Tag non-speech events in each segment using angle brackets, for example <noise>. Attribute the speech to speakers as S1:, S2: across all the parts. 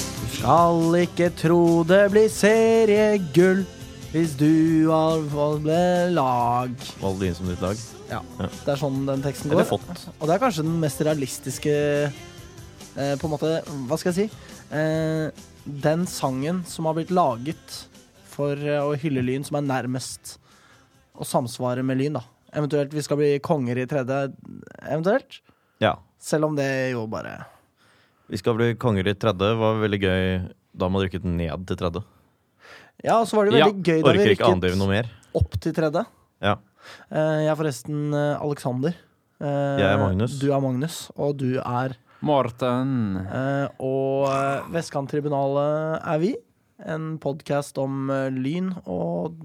S1: Skal ikke tro det blir seriegull hvis du har fått lag.
S2: Valg du inn som ditt lag?
S1: Ja,
S2: Ja.
S1: Det er sånn den teksten går.
S2: Eller fått?
S1: Og det er kanskje den mest realistiske eh, På en måte, hva skal jeg si? Eh, den sangen som har blitt laget for eh, å hylle Lyn, som er nærmest å samsvare med Lyn, da. Eventuelt vi skal bli konger i tredje, eventuelt.
S2: Ja.
S1: Selv om det jo bare
S2: Vi skal bli konger i tredje. Var veldig gøy da man rykket ned til tredje.
S1: Ja, og så var det
S2: Ja,
S1: veldig gøy da vi
S2: Orker ikke
S1: rykket
S2: andrive noe mer.
S1: opp til tredje.
S2: Ja.
S1: Eh, jeg er forresten eh, Alexander. Eh,
S2: Jeg er Magnus.
S1: Du er Magnus, og du er
S3: Morten.
S1: Eh, og eh, Vestkanttribunalet er vi. En podkast om eh, lyn og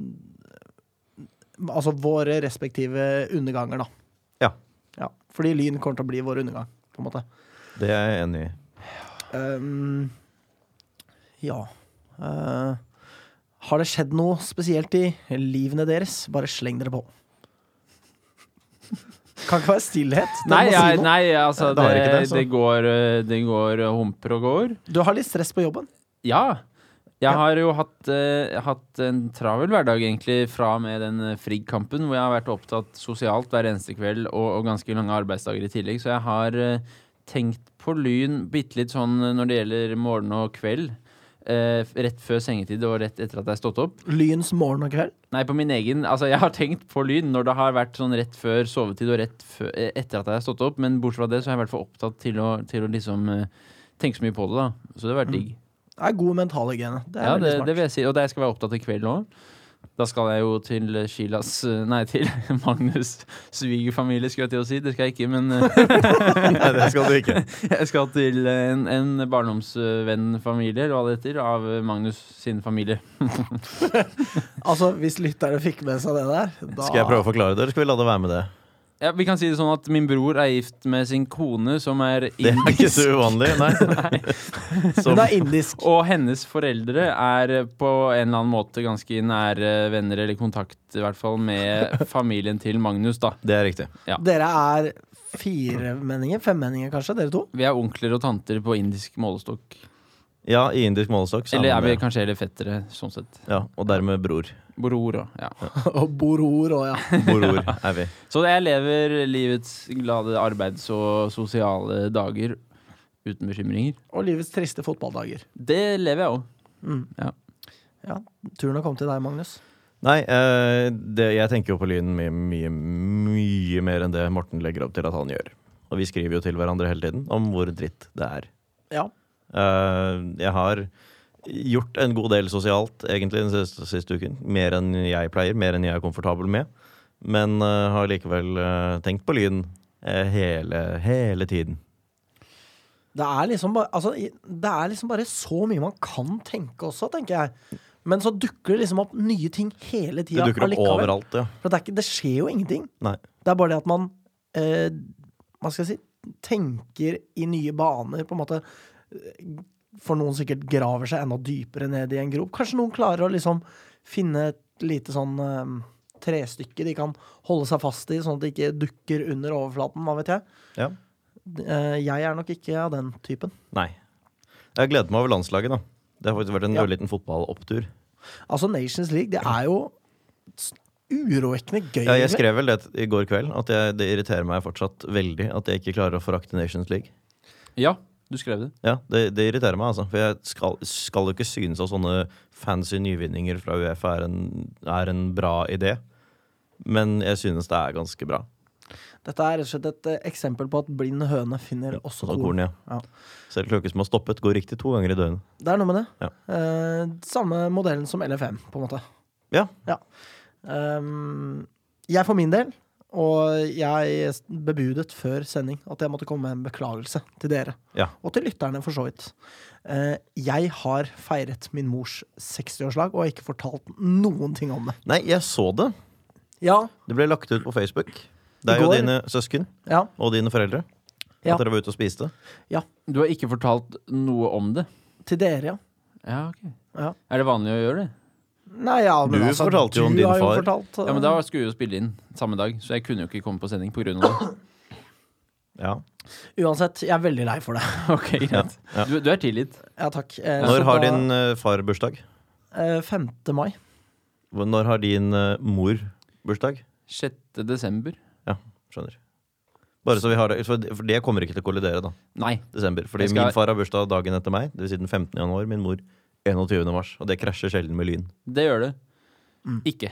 S1: Altså våre respektive underganger, da.
S2: Ja.
S1: Ja, fordi lyn kommer til å bli vår undergang, på en måte.
S2: Det er jeg enig i.
S1: Ehm, ja Eh, Har det skjedd noe spesielt i livene deres? Bare sleng dere på. Kan ikke være stillhet. Dere
S3: Nei,
S1: må si
S3: jeg,
S1: noe.
S3: nei altså,
S2: Det
S3: det,
S2: var ikke
S3: det,
S2: det, så.
S3: går, eh, det går eh, humper og går.
S1: Du har litt stress på jobben.
S3: Ja. Jeg
S1: Ja.
S3: har jo hatt, eh, hatt en travel hverdag, egentlig, fra og med den eh, FRIG-kampen, hvor jeg har vært opptatt sosialt hver eneste kveld og, og ganske lange arbeidsdager i tillegg. Så jeg har eh, tenkt på Lyn bitte litt sånn eh, når det gjelder morgen og kveld. eh, rett før sengetid og rett etter at jeg har stått opp.
S1: Lyns morgen og kveld.
S3: Nei, på min egen Altså, jeg har tenkt på lyn når det har vært sånn rett før sovetid og rett fø- eh, etter at jeg har stått opp, men bortsett fra det så har jeg vært for opptatt til å, til å liksom eh, tenke så mye på det, da. Så det har vært digg.
S1: Det er god mentalhygiene. Mm. Det er
S3: Ja,
S1: veldig
S3: det,
S1: smart.
S3: det vil jeg si. Og det skal jeg være opptatt i kveld òg. Da skal jeg jo til Shilas eh, Nei, til <laughs> Magnus' svigerfamilie, skulle jeg til å si. Det skal jeg ikke, men eh, <laughs>
S2: Nei, det skal du
S1: <laughs>
S2: ikke.
S3: jeg skal til en, en barndomsvennfamilie, eller hva det heter, av eh, Magnus sin familie.
S1: Altså, Hvis lytterne fikk med seg det der da...
S2: Skal jeg prøve å forklare det, eller skal vi la det være med det?
S3: Ja, vi kan si det sånn at min bror er gift med sin kone, som er
S2: Det er ikke så
S3: indisk.
S2: uvanlig, nei.
S1: <laughs>
S2: Som,
S1: Hun er indisk.
S3: Og hennes foreldre er eh, på en eller annen måte ganske nære venner eller kontakt, i hvert fall <laughs> med familien til Magnus, da.
S2: det er riktig.
S1: Dere er firemenninger? Femmenninger, kanskje? Dere to?
S3: Vi er onkler og tanter på indisk målestokk.
S2: Ja, i indisk målestokk. så
S3: Eller
S2: man
S3: er vi
S2: det.
S3: kanskje heller fettere, sånn sett.
S2: Ja, og dermed bror.
S3: Bror <laughs> og ja.
S1: Og boror og ja. <laughs>
S2: Bror er vi.
S3: Så jeg lever livets glade arbeids- og sosiale dager uten bekymringer.
S1: Og livets triste fotballdager.
S3: Det lever jeg òg.
S1: Mm.
S3: Ja.
S1: ja. Turen har kommet til deg, Magnus.
S2: Nei, eh, det, jeg tenker jo på lyden mye, mye, mye mer enn det Morten legger opp til at han gjør. Og vi skriver jo til hverandre hele tiden om hvor dritt det er.
S1: Ja.
S2: Eh, jeg har gjort en god del sosialt egentlig den siste, siste uken. Mer enn jeg pleier, mer enn jeg er komfortabel med. Men eh, har likevel eh, tenkt på lyden eh, hele, hele tiden.
S1: Det er, liksom bare, altså, i- det er liksom bare så mye man kan tenke også, tenker jeg. Men så dukker det liksom opp nye ting hele
S2: Det
S1: tida.
S2: dukker opp
S1: allikevel.
S2: overalt, ja.
S1: For det, er ikke, det skjer jo ingenting.
S2: Nei.
S1: Det er bare det at man eh, Hva skal jeg si Tenker i nye baner, på en måte. Eh, For noen sikkert graver seg enda dypere ned i en grop. Kanskje noen klarer å liksom finne et lite sånn eh, trestykke de kan holde seg fast i, sånn at det ikke dukker under overflaten. Hva vet jeg.
S2: ja.
S1: Eh, jeg er nok ikke av den typen.
S2: Nei. Jeg gleder meg over landslaget, da. Det har faktisk vært en
S1: Ja.
S2: ørliten fotballopptur.
S1: Altså Nations League, det er jo s- urovekkende gøy.
S2: Ja, jeg
S1: egentlig.
S2: skrev vel det i går kveld, at jeg, det irriterer meg fortsatt veldig at jeg ikke klarer å forakte Nations League.
S3: Ja, du skrev det.
S2: Ja, det, det irriterer meg, altså. For jeg skal, skal jo ikke synes at sånne fancy nyvinninger fra Uefa er en, er en bra idé. Men jeg synes det er ganske bra.
S1: Dette er rett og slett et eh, eksempel på at blind høne finner også
S2: Sånn at
S1: korn.
S2: korn, ja.
S1: Ja.
S2: Selv klokke som har stoppet, går riktig to ganger i døgnet.
S1: Det er noe med det.
S2: Ja.
S1: Eh, samme modellen som LFM, på en måte.
S2: Ja.
S1: Ehm, jeg for min del, og jeg bebudet før sending at jeg måtte komme med en beklagelse til dere.
S2: Ja.
S1: Og til lytterne, for så vidt. Eh, jeg har feiret min mors 60-årslag og har ikke fortalt noen ting om det.
S2: Nei, jeg så det.
S1: Ja,
S2: Det ble lagt ut på Facebook.
S1: I
S2: Det er jo
S1: går?
S2: dine søsken
S1: ja,
S2: og dine foreldre.
S1: Ja.
S2: At dere var ute og spiste.
S3: Du har ikke fortalt noe om det.
S1: til dere, ja.
S3: Ja, ok.
S1: Ja.
S3: Er det vanlig å gjøre det?
S1: Nei, ja, men
S2: Du
S1: altså,
S2: fortalte jo om
S1: du
S2: din
S1: har jo
S2: far.
S1: Fortalt, eh, <laughs>
S3: Ja, men da skulle vi jo spille inn samme dag, så jeg kunne jo ikke komme på sending pga. det.
S2: Ja.
S1: Uansett, jeg er veldig lei for det.
S3: Ok, greit.
S2: <laughs> Ja.
S3: Du, du er tilgitt.
S1: Ja, takk. Eh, så
S2: Når har
S1: da-
S2: din eh, far bursdag?
S1: eh, 5. mai.
S2: Hvor- Når har din eh, mor bursdag?
S3: 6. desember.
S2: Skjønner. Bare så vi har det, for det- for det kommer ikke til å kollidere, da.
S3: Nei.
S2: Desember. Fordi
S3: Jeg skal-
S2: min far har bursdag dagen etter meg, dvs. Si den 15. januar. Min mor 21. mars. Og det krasjer sjelden med lyn.
S3: Det gjør det.
S1: Mm.
S3: Ikke.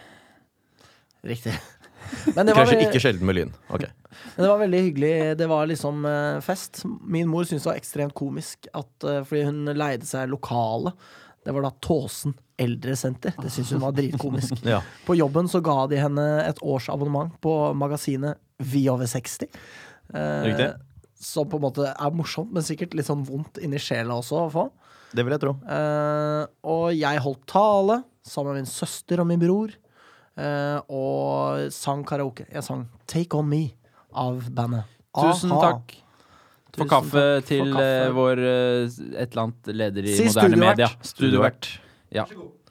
S2: <laughs>
S1: Riktig. Men det
S2: Det
S1: var,
S2: krasjer
S1: veldig,
S2: ikke sjelden med lyn. Ok.
S1: men det var veldig hyggelig. Det var liksom eh, fest. Min mor syntes det var ekstremt komisk at, eh, fordi hun leide seg lokale. Det var da Tåsen eldresenter. Det syntes hun var dritkomisk.
S2: <laughs> Ja.
S1: På jobben så ga de henne et års abonnement på magasinet Vi over 60. Eh,
S2: Riktig.
S1: Som på en måte er morsomt, men sikkert litt sånn vondt inni sjela også å få.
S2: Det vil jeg tro.
S1: Eh, og jeg holdt tale sammen med min søster og min bror. eh, og sang karaoke. Jeg sang Take On Me av bandet.
S3: Tusen
S1: A-ha.
S3: takk for
S1: Tusen takk
S3: kaffe
S1: for
S3: til
S1: kaffe.
S3: eh, vår eh, et eller annet leder i
S1: Si
S3: moderne
S1: studiovert.
S3: media. Studiovert. Ja.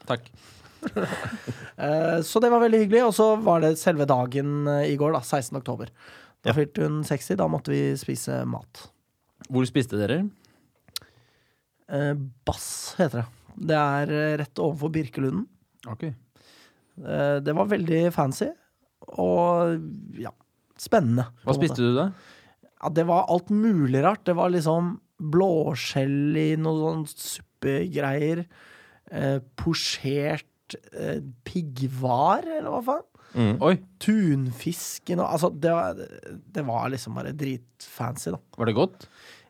S3: Takk.
S1: Eh, så det var veldig hyggelig. Og så var det selve dagen eh, i går, da. 16. oktober. Da
S2: Ja.
S1: fylte hun 60. Da måtte vi spise mat.
S3: Hvor spiste dere?
S1: Eh, Bass heter det. Det er eh, rett overfor Birkelunden.
S3: Ok.
S1: Eh, det var veldig fancy og ja, spennende. på
S3: Hva
S1: en måte.
S3: spiste du da?
S1: Ja, det var alt mulig rart. Det var liksom blåskjell i noe sånn suppegreier. Eh, posjert eh, piggvar, eller hva faen?
S2: Mm.
S3: Oi,
S1: Tunfisk i noe Altså, det var, det var liksom bare dritfancy, da.
S3: var det godt?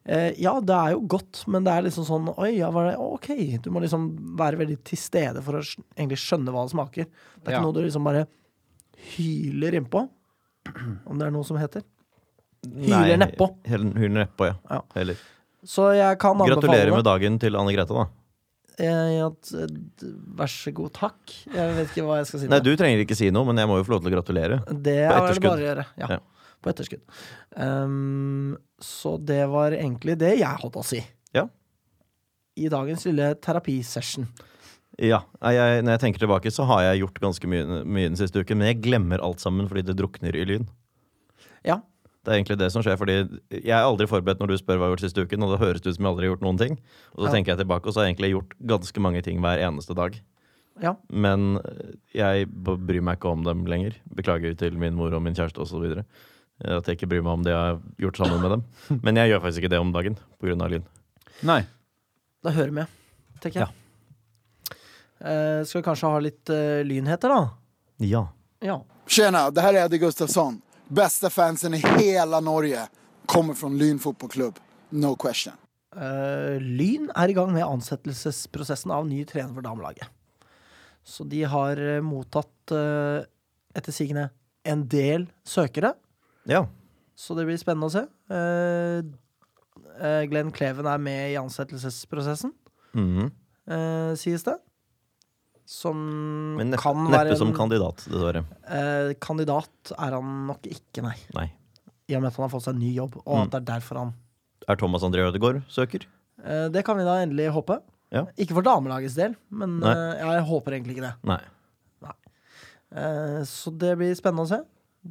S1: Eh, ja, det er jo godt, men det er liksom sånn Oi, ja, var det OK. Du må liksom være veldig til stede for å skj- egentlig skjønne hva det smaker. Det er
S3: Ja.
S1: ikke noe du liksom bare hyler innpå, om det er noe som heter.
S2: Nei,
S1: Hyler nedpå.
S2: hel- Hyler nedpå, ja.
S1: Ja.
S2: Heller.
S1: Så jeg kan anbefale
S2: Gratulerer
S1: det.
S2: med dagen til Anne Grete, da.
S1: Eh, at, eh, d- vær så god, takk. Jeg vet ikke hva jeg skal si. til
S2: Nei,
S1: det.
S2: du trenger ikke si noe, men jeg må jo få lov til å gratulere.
S1: det er det
S2: etterskudd.
S1: bare å gjøre. Ja,
S2: Ja.
S1: På etterskudd. Ehm, så det var egentlig det jeg hadde å si.
S2: Ja.
S1: I dagens lille terapisession.
S2: Ja, nei, jeg, Når jeg tenker tilbake, så har jeg gjort ganske mye, mye den siste uken. Men jeg glemmer alt sammen fordi det drukner i lyn.
S1: Ja.
S2: Det er egentlig det som skjer. fordi Jeg er aldri forberedt når du spør hva jeg har gjort siste uken, og det høres ut som jeg aldri har gjort noen ting. Og så
S1: Ja.
S2: tenker jeg tilbake, og så har jeg egentlig gjort ganske mange ting hver eneste dag.
S1: Ja.
S2: Men jeg b- bryr meg ikke om dem lenger. Beklager til min mor og min kjæreste osv. At jeg ikke bryr meg om det jeg har gjort sammen <laughs> med dem. Men jeg gjør faktisk ikke det om dagen pga. lyn.
S3: Nei.
S1: Da hører vi, tenker jeg. Eh, skal vi kanskje ha litt eh, lynheter, da?
S2: Ja.
S1: Ja.
S4: Tjena, det här är Eddie Gustafsson. Bästa fansen i hela Norge. Kommer från Lyn fotbollklubb. No question.
S1: Eh, Lyn er i gang med ansettelsesprosessen av ny trener for damelaget. Så de har eh, mottatt eh, etter sigende en del søkere,
S2: ja.
S1: så det blir spennende å se. Eh, eh, Glenn Kleven er med i ansettelsesprosessen,
S2: Mhm.
S1: eh, sies det. Som
S2: Men neppe,
S1: kan
S2: neppe
S1: være en
S2: som kandidat, dessverre.
S1: eh, kandidat, er han nok ikke, nei.
S2: Nei.
S1: I og med at han har fått seg en ny jobb, og
S2: Mm.
S1: at det er derfor han
S2: Er Thomas André Ødegaard søker?
S1: Eh, Det kan vi da endelig håpe.
S2: Ja.
S1: Ikke for damelagets del, men
S2: Nei.
S1: eh, jeg håper egentlig ikke det.
S2: Nei.
S1: Eh, Så det blir spennende å se.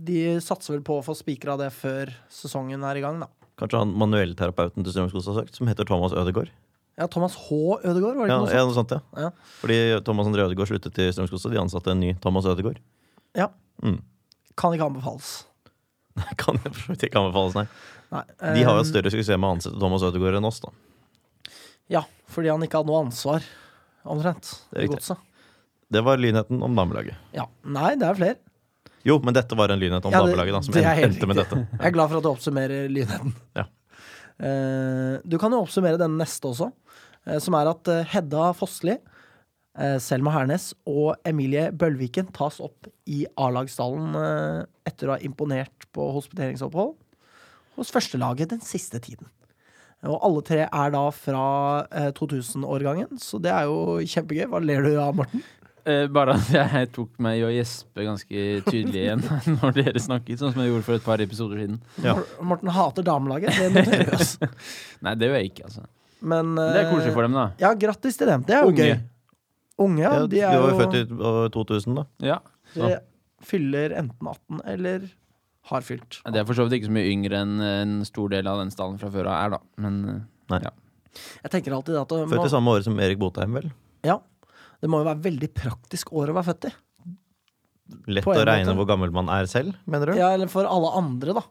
S1: De satser vel på å få spikra det før sesongen er i gang, da.
S2: Kanskje han manuellterapeuten til Strømskog har søkt, som heter Thomas Ødegaard?
S1: Ja, Thomas H. Ødegaard, var det
S2: Ja,
S1: ikke noe
S2: ja,
S1: sånt?
S2: noe sånt, ja.
S1: Ja.
S2: Fordi Thomas André Ødegaard sluttet i Strømskog, så de ansatte en ny Thomas Ødegaard. <laughs>
S1: Ja.
S2: Mm.
S1: Kan ikke anbefales.
S2: Kan jeg for så vidt ikke anbefales, nei.
S1: Nei.
S2: De har jo
S1: eh,
S2: større suksess med å ansette Thomas Ødegaard enn oss, da.
S1: Ja, fordi han ikke hadde noe ansvar, omtrent.
S2: Det er
S1: i
S2: riktig.
S1: godset.
S2: Det var lynheten om damelaget.
S1: Ja. Nei, det er flere.
S2: Jo, men dette var en lynhet om
S1: Ja, det-
S2: damelaget, da, som
S1: det er
S2: en-
S1: helt
S2: endte med
S1: riktig.
S2: dette.
S1: Jeg er glad for at du oppsummerer lynheten.
S2: Ja.
S1: Eh, Du kan jo oppsummere den neste også, eh, som er at eh, Hedda Fossli, eh, Selma Hernes og Emilie Bølviken tas opp i A-lagsdalen eh, etter å ha imponert på hospiteringsopphold hos førstelaget den siste tiden. Og alle tre er da fra eh, 2000-årgangen, så det er jo kjempegøy. Hva ler du av, Morten?
S3: Eh, bare at jeg tok meg i å gjespe ganske tydelig igjen <laughs> når dere snakket, sånn som jeg gjorde for et par episoder siden.
S2: Ja.
S1: Mor- Morten hater damelaget, det noterer vi oss.
S3: <laughs> Nei, det gjør jeg ikke, altså.
S1: Men
S3: Men Det er koselig for dem, da.
S1: Ja, grattis til dem. Det er jo
S3: Unge.
S1: gøy. Unge, <laughs> ja.
S2: Ja,
S1: De er
S2: du
S1: jo
S2: var jo født i år 2000, da.
S3: Ja.
S1: de fyller enten 18 eller har fylt.
S3: Ja, Det er for så vidt ikke så mye yngre enn en stor del av den stallen fra før av er, da. Men eh,
S1: Jeg tenker alltid at det må,
S2: Født i samme året som Erik Botheim, vel?
S1: ja, det må jo være veldig praktisk år å være født i.
S2: Lett
S1: På en
S2: å regne
S1: måte.
S2: hvor gammel man er selv, mener du?
S1: Ja, eller for alle andre, da.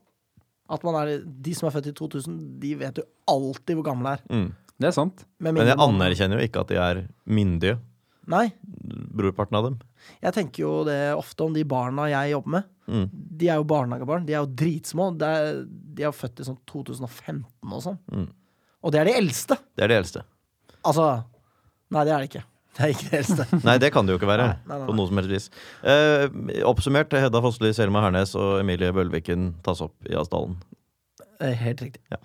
S1: At man er, De som er født i 2000, de vet jo alltid hvor gamle de er.
S2: Mm.
S3: det er sant.
S1: Med
S2: Men
S1: mindre
S2: jeg
S1: man-
S2: anerkjenner jo ikke at de er myndige,
S1: Nei,
S2: brorparten av dem.
S1: jeg tenker jo det ofte om de barna jeg jobber med.
S2: Mm.
S1: De er jo barnehagebarn. De er jo dritsmå. De er, de er jo født i sånn 2015 og sånn.
S2: Mm.
S1: Og det er de eldste!
S2: Det er det
S1: <laughs>
S2: eldste.
S1: Altså Nei, det er det ikke. <laughs> Det er ikke det eldste.
S2: Nei, det kan det jo ikke være.
S1: Nei, nei, nei,
S2: På noe som helst vis. Eh, oppsummert, Hedda Fossli, Selma Hernes og Emilie Bølviken tas opp i Asdalen.
S1: Eh, Helt riktig.
S2: Ja.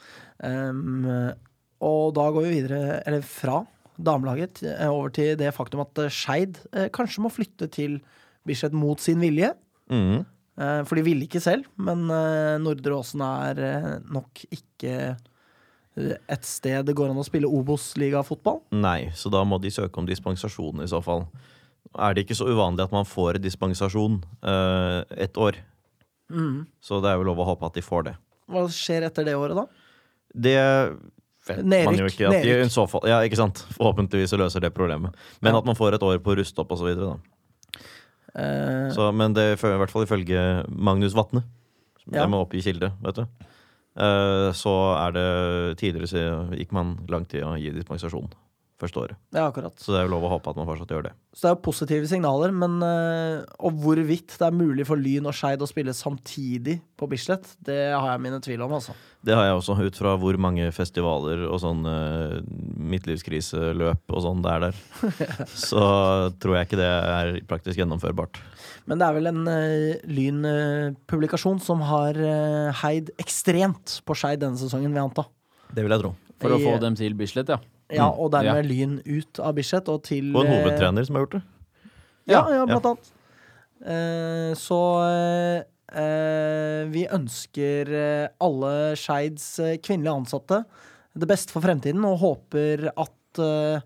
S1: Ehm, og da går vi videre, eller fra damelaget, til- eh, over til det faktum at eh, Skeid eh, kanskje må flytte til Bislett mot sin vilje.
S2: Mhm.
S1: Eh, For de ville ikke selv, men eh, Nordre Åsen er eh, nok ikke eh, et sted det går an å spille Obos-ligafotball.
S2: Nei, så da må de søke om dispensasjon i så fall. Er det ikke så uvanlig at man får dispensasjon eh, et år?
S1: Mm.
S2: Så det er jo lov å håpe at de får det.
S1: Hva skjer etter det året, da?
S2: Det vet man jo
S1: Nedrykk,
S2: ikke. At de,
S1: nedrykk.
S2: i så fall, ja, ikke sant? Forhåpentligvis så løser det problemet. Men
S1: Ja.
S2: at man får et år på å ruste opp og så videre. Da.
S1: Eh,
S2: Så, men det er i hvert fall ifølge Magnus Vatne, som
S1: Ja.
S2: jeg må oppgi kilde, vet du. eh, så er det Tidligere så gikk man langt i å gi dispensasjon første året.
S1: ja, akkurat.
S2: Så det er jo lov å håpe at man fortsatt gjør det.
S1: Så det er jo positive signaler, men eh, Og hvorvidt det er mulig for Lyn og Skeid å spille samtidig på Bislett, det har jeg mine tvil om, altså.
S2: Det har jeg også, ut fra hvor mange festivaler og sånn eh, midtlivskriseløp og sånn det <laughs> er der. Så tror jeg ikke det er praktisk gjennomførbart.
S1: Men det er vel en eh, Lyn-publikasjon som har eh, heid ekstremt på Skeid denne sesongen, vil jeg anta.
S2: Det vil jeg tro.
S3: For å
S1: I-
S3: få dem til Bislett, ja.
S1: Ja, og dermed Lyn ut av Bislett og til
S2: Mm. Og en
S1: eh,
S2: hovedtrener som har gjort det.
S1: Ja,
S2: Ja,
S1: ja blant annet. Eh, så eh, eh, vi ønsker eh, alle Skeids eh, kvinnelige ansatte det beste for fremtiden, og håper at, eh,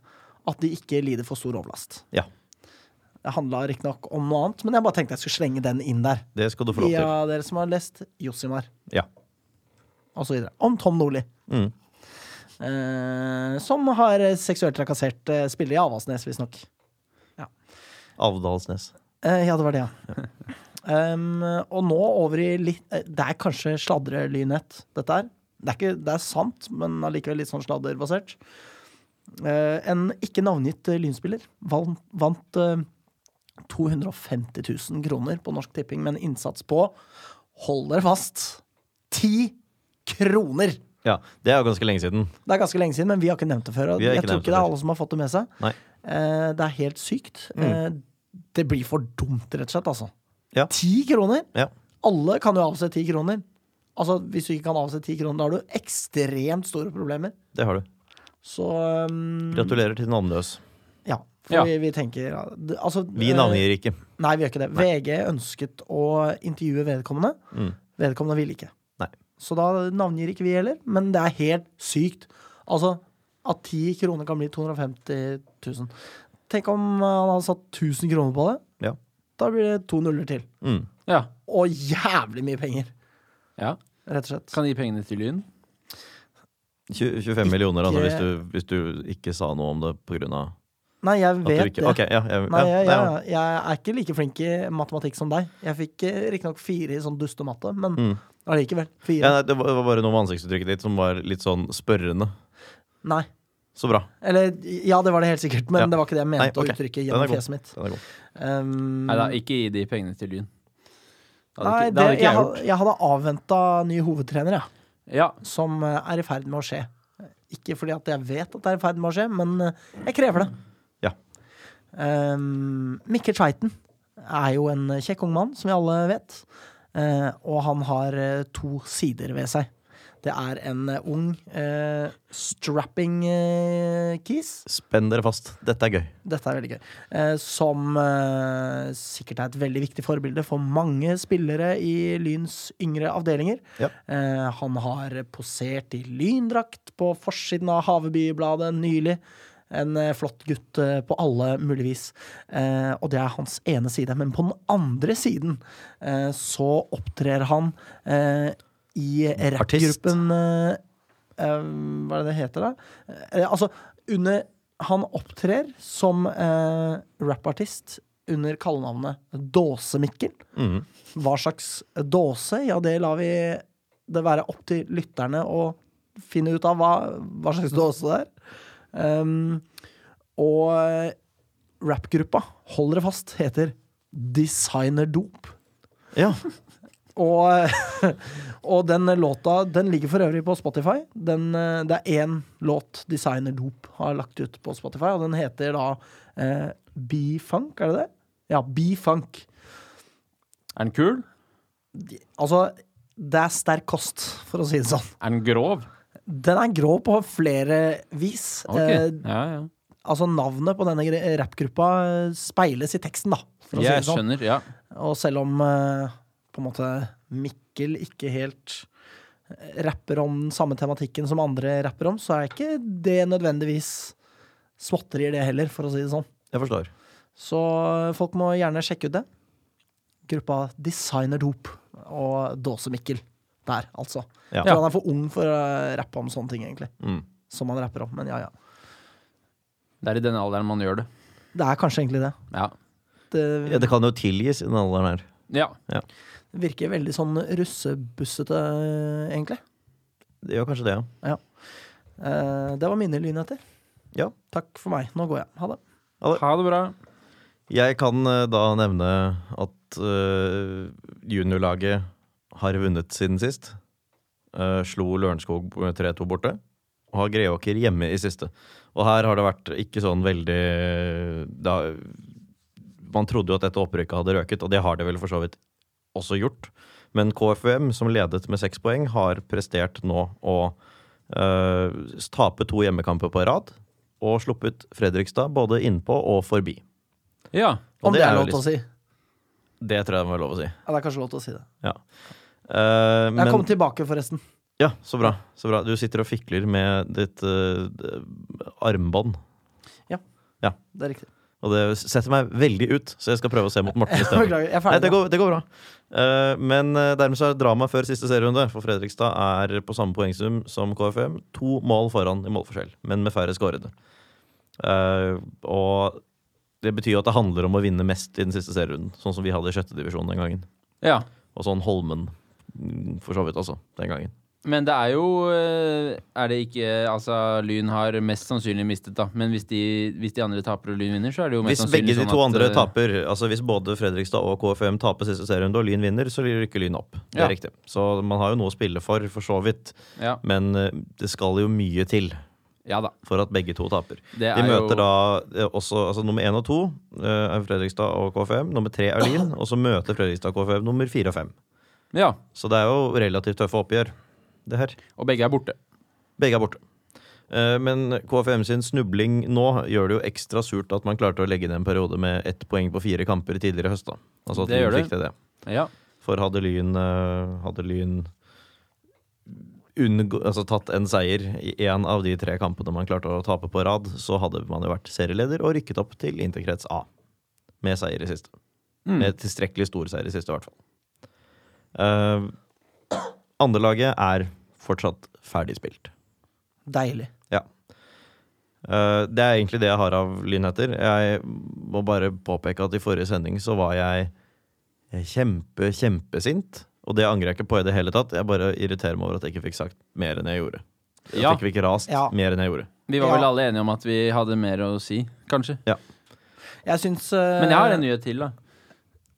S1: at de ikke lider for stor overlast.
S2: Ja.
S1: Det handla riktignok om noe annet, men jeg bare tenkte jeg skulle slenge den inn der.
S2: Det skal du få lov
S1: Via
S2: til.
S1: dere som har lest Josimar.
S2: Ja.
S1: Og så videre. Om Tom Nordli.
S2: Mm.
S1: Eh, som har eh, seksuelt trakassert eh, spillere i Avaldsnes, visstnok.
S2: Avdalsnes.
S1: Eh, ja, det var det, ja. Em, og nå over i litt eh, Det er kanskje sladrelynett, dette her. Det er, ikke, det er sant, men allikevel litt sånn sladderbasert. Eh, en ikke navngitt eh, lynspiller vant, vant eh, 250 000 kroner på Norsk Tipping med en innsats på, hold dere fast, ti kroner!
S2: Ja, det er jo ganske lenge siden.
S1: Det er ganske lenge siden, men vi har ikke nevnt det før. Og
S2: Vi har
S1: jeg
S2: ikke
S1: tror
S2: nevnt
S1: ikke
S2: det
S1: det er
S2: før.
S1: alle som har fått det med seg.
S2: Nei.
S1: Eh, det er helt sykt.
S2: Mm.
S1: Eh, det blir for dumt, rett og slett, altså.
S2: Ja.
S1: Ti kroner!
S2: Ja.
S1: Alle kan jo avse ti kroner. Altså, Hvis du ikke kan avse ti kroner, da har du ekstremt store problemer.
S2: Det har du.
S1: Så um,
S2: Gratulerer til navnløs.
S1: Ja. For
S3: Ja.
S1: Vi, vi tenker ja, det- altså,
S2: Vi
S1: eh,
S2: navngir ikke.
S1: Nei, vi gjør ikke det. VG ønsket å intervjue vedkommende.
S2: Mm.
S1: Vedkommende ville ikke.
S2: Nei.
S1: Så da navngir ikke vi heller. Men det er helt sykt. Altså, at 10 kroner kan bli 250 000. Tenk om han hadde satt 1000 kroner på det.
S2: Ja.
S1: Da blir det to nuller til.
S2: Mm.
S3: Ja.
S1: Og jævlig mye penger,
S3: ja.
S1: rett og slett.
S3: Kan gi pengene til Lyn.
S2: Tju- 25 millioner, altså,
S1: Ikke-
S2: hvis du, hvis du ikke sa noe om det på grunn av
S1: Nei, jeg
S2: at du
S1: vet
S2: ikke
S1: det.
S2: Ok, ja. Jeg,
S1: Nei,
S2: ja,
S1: jeg,
S2: ja.
S1: jeg, jeg er ikke like flink i matematikk som deg. Jeg fikk eh, riktignok fire i sånn dustematte, men
S2: Mm.
S1: allikevel.
S2: Ja,
S1: Fire.
S2: nei, det var det var bare noe med ansiktsuttrykket ditt som var litt sånn spørrende.
S1: Nei.
S2: Så bra.
S1: Eller ja, det var det helt sikkert, men
S2: Ja.
S1: det var ikke det jeg
S2: Nei,
S1: mente
S2: ok.
S1: å uttrykke
S2: Den er
S1: gjennom
S2: god.
S1: fjeset mitt.
S2: Den er god.
S1: Um,
S3: Nei da, ikke gi de pengene til Lyn. Det hadde
S1: Nei,
S3: ikke,
S1: det,
S3: det hadde ikke
S1: jeg,
S3: jeg
S1: had-
S3: gjort.
S1: jeg hadde avventa ny hovedtrener, ja,
S3: Ja,
S1: som eh, er i ferd med å skje. Ikke fordi at jeg vet at det er i ferd med å skje, men eh, jeg krever det.
S2: Ja.
S1: Um, Mikkel Tveiten er jo en kjekk ung mann, som vi alle vet. Eh, og han har eh, to sider ved seg. Det er en eh, ung, eh, strapping eh, kis.
S2: Spenn dere fast. Dette er gøy.
S1: Dette er veldig gøy. Eh, som eh, sikkert er et veldig viktig forbilde for mange spillere i Lyns yngre avdelinger.
S2: Ja.
S1: Eh, han har posert i lyndrakt på forsiden av Havebybladet nylig. En eh, flott gutt eh, på alle mulige vis. Eh, og det er hans ene side. Men på den andre siden eh, så opptrer han eh, i
S2: Artist.
S1: rappgruppen eh, eh, Hva er det det heter, da? Eh, altså, under Han opptrer som eh, rappartist under kallenavnet Dåse-Mikkel.
S2: Mhm.
S1: Hva slags dåse? Ja, det lar vi det være opp til lytterne å finne ut av hva, hva slags dåse det er. Um, og rappgruppa, hold dere fast, heter Designer Dop.
S2: Ja.
S1: Og, <laughs> og den låta den ligger for øvrig på Spotify. Den, eh, det er én låt Designer Dop har lagt ut på Spotify, og den heter da eh, B-funk, er det det? Ja, B-funk.
S3: Er den kul?
S1: Altså, det er sterk kost, for å si det sånn.
S3: Er den grov?
S1: Den er grå på flere vis.
S3: Ok.
S1: Eh,
S3: ja, ja.
S1: altså Navnet på denne gre- rappgruppa eh, speiles i teksten, da. For å si
S3: Jeg
S1: det sånn.
S3: skjønner. Ja.
S1: Og selv om eh, på en måte Mikkel ikke helt rapper om den samme tematikken som andre rapper om, så er ikke det nødvendigvis småtterier, det heller, for å si det sånn.
S2: Jeg forstår.
S1: Så eh, folk må gjerne sjekke ut det. Gruppa Designer Dop og Dåse Mikkel der, altså.
S2: Ja.
S1: Jeg tror han er for ung for å rappe om sånne ting, egentlig.
S2: Mm.
S1: Som han rapper om, men ja, ja.
S3: Det er i den alderen man gjør det.
S1: Det er kanskje egentlig det.
S3: Ja.
S1: Det
S2: Ja, det kan jo tilgis i den alderen her.
S3: ja.
S1: virker veldig sånn russebussete, egentlig.
S2: Det gjør kanskje det, ja.
S1: Eh, Det var mine lynheter.
S2: Ja.
S1: Takk for meg. Nå går jeg. Ha det.
S3: Ha det bra.
S2: Jeg kan eh, da nevne at eh, juniorlaget har vunnet siden sist. Eh, slo Lørenskog 3-2 borte. Og har Greåker hjemme i siste. Og her har det vært ikke sånn veldig det har- Man trodde jo at dette opprykket hadde røket, og det har det vel for så vidt også gjort. Men KFUM, som ledet med seks poeng, har prestert nå å eh, tape to hjemmekamper på rad. Og sluppet Fredrikstad både innpå og forbi.
S3: Ja.
S2: Og
S1: Om det er
S2: jo
S1: lov til å
S2: litt-
S1: si. Ja,
S2: Det tror jeg det må være lov å si.
S1: det er kanskje lov til å si det.
S2: Eh,
S1: Jeg kom
S2: men,
S1: tilbake, forresten.
S2: ja, så bra, så bra. Du sitter og fikler med ditt eh, d- armbånd.
S1: Det er riktig.
S2: Og det setter meg veldig ut, så jeg skal prøve å se mot Morten isteden.
S1: Beklager. Jeg er
S2: Nei,
S1: ferdig.
S2: det går, det går bra. Eh, men eh, dermed så er drama før siste serierunde, for Fredrikstad er på samme poengsum som KFM. To mål foran i målforskjell, men med færre skårede. Eh, og det betyr jo at det handler om å vinne mest i den siste serierunden, sånn som vi hadde i sjette divisjon den gangen.
S3: ja.
S2: Og sånn Holmen, mm, for så vidt, altså, den gangen.
S3: Men det er jo eh, Er det ikke Altså, Lyn har mest sannsynlig mistet, da. Men hvis de, hvis de andre taper og Lyn vinner, så er det jo mest
S2: Hvis begge
S3: sannsynlig
S2: de
S3: sånn
S2: to
S3: at,
S2: andre
S3: eh,
S2: taper, altså hvis både Fredrikstad og KFM taper siste serierunde og Lyn vinner, så rykker Lyn opp. Det er
S3: Ja.
S2: riktig. Så man har jo noe å spille for, for så vidt.
S3: Ja,
S2: Men eh, det skal jo mye til
S3: ja da.
S2: for at begge to taper. De
S3: Det er
S2: møter
S3: jo
S2: da eh, også altså nummer én og to eh, er Fredrikstad og KFM. Nummer tre er
S3: <laughs>
S2: Lyn, og så møter Fredrikstad og KFM nummer fire og fem.
S3: Ja.
S2: Så det er jo relativt tøffe oppgjør, det her.
S3: Og begge er borte.
S2: Begge er borte. Eh, Men KFM sin snubling nå gjør det jo ekstra surt at man klarte å legge ned en periode med ett poeng på fire kamper tidligere i høst. da. Altså at
S3: Det gjør
S2: Lyn
S3: det.
S2: fikk til det.
S3: Ja.
S2: For hadde Lyn, eh, hadde lyn unngå, altså tatt en seier i én av de tre kampene man klarte å tape på rad, så hadde man jo vært serieleder og rykket opp til interkrets A med seier i siste.
S3: Mm.
S2: Med tilstrekkelig stor seier i siste, i hvert fall. Uh, Andrelaget er fortsatt ferdigspilt.
S1: Deilig.
S2: Eh, Det er egentlig det jeg har av lynheter. Jeg må bare påpeke at i forrige sending så var jeg kjempe, kjempesint. Og det angrer jeg ikke på i det hele tatt. Jeg bare irriterer meg over at jeg ikke fikk sagt mer enn jeg gjorde. At
S3: Ja.
S2: jeg ikke fikk rast
S1: Ja.
S2: mer enn jeg gjorde.
S3: Vi var
S1: Ja.
S3: vel alle enige om at vi hadde mer å si, kanskje.
S1: Jeg syns eh,
S3: Men jeg har en nyhet til, da.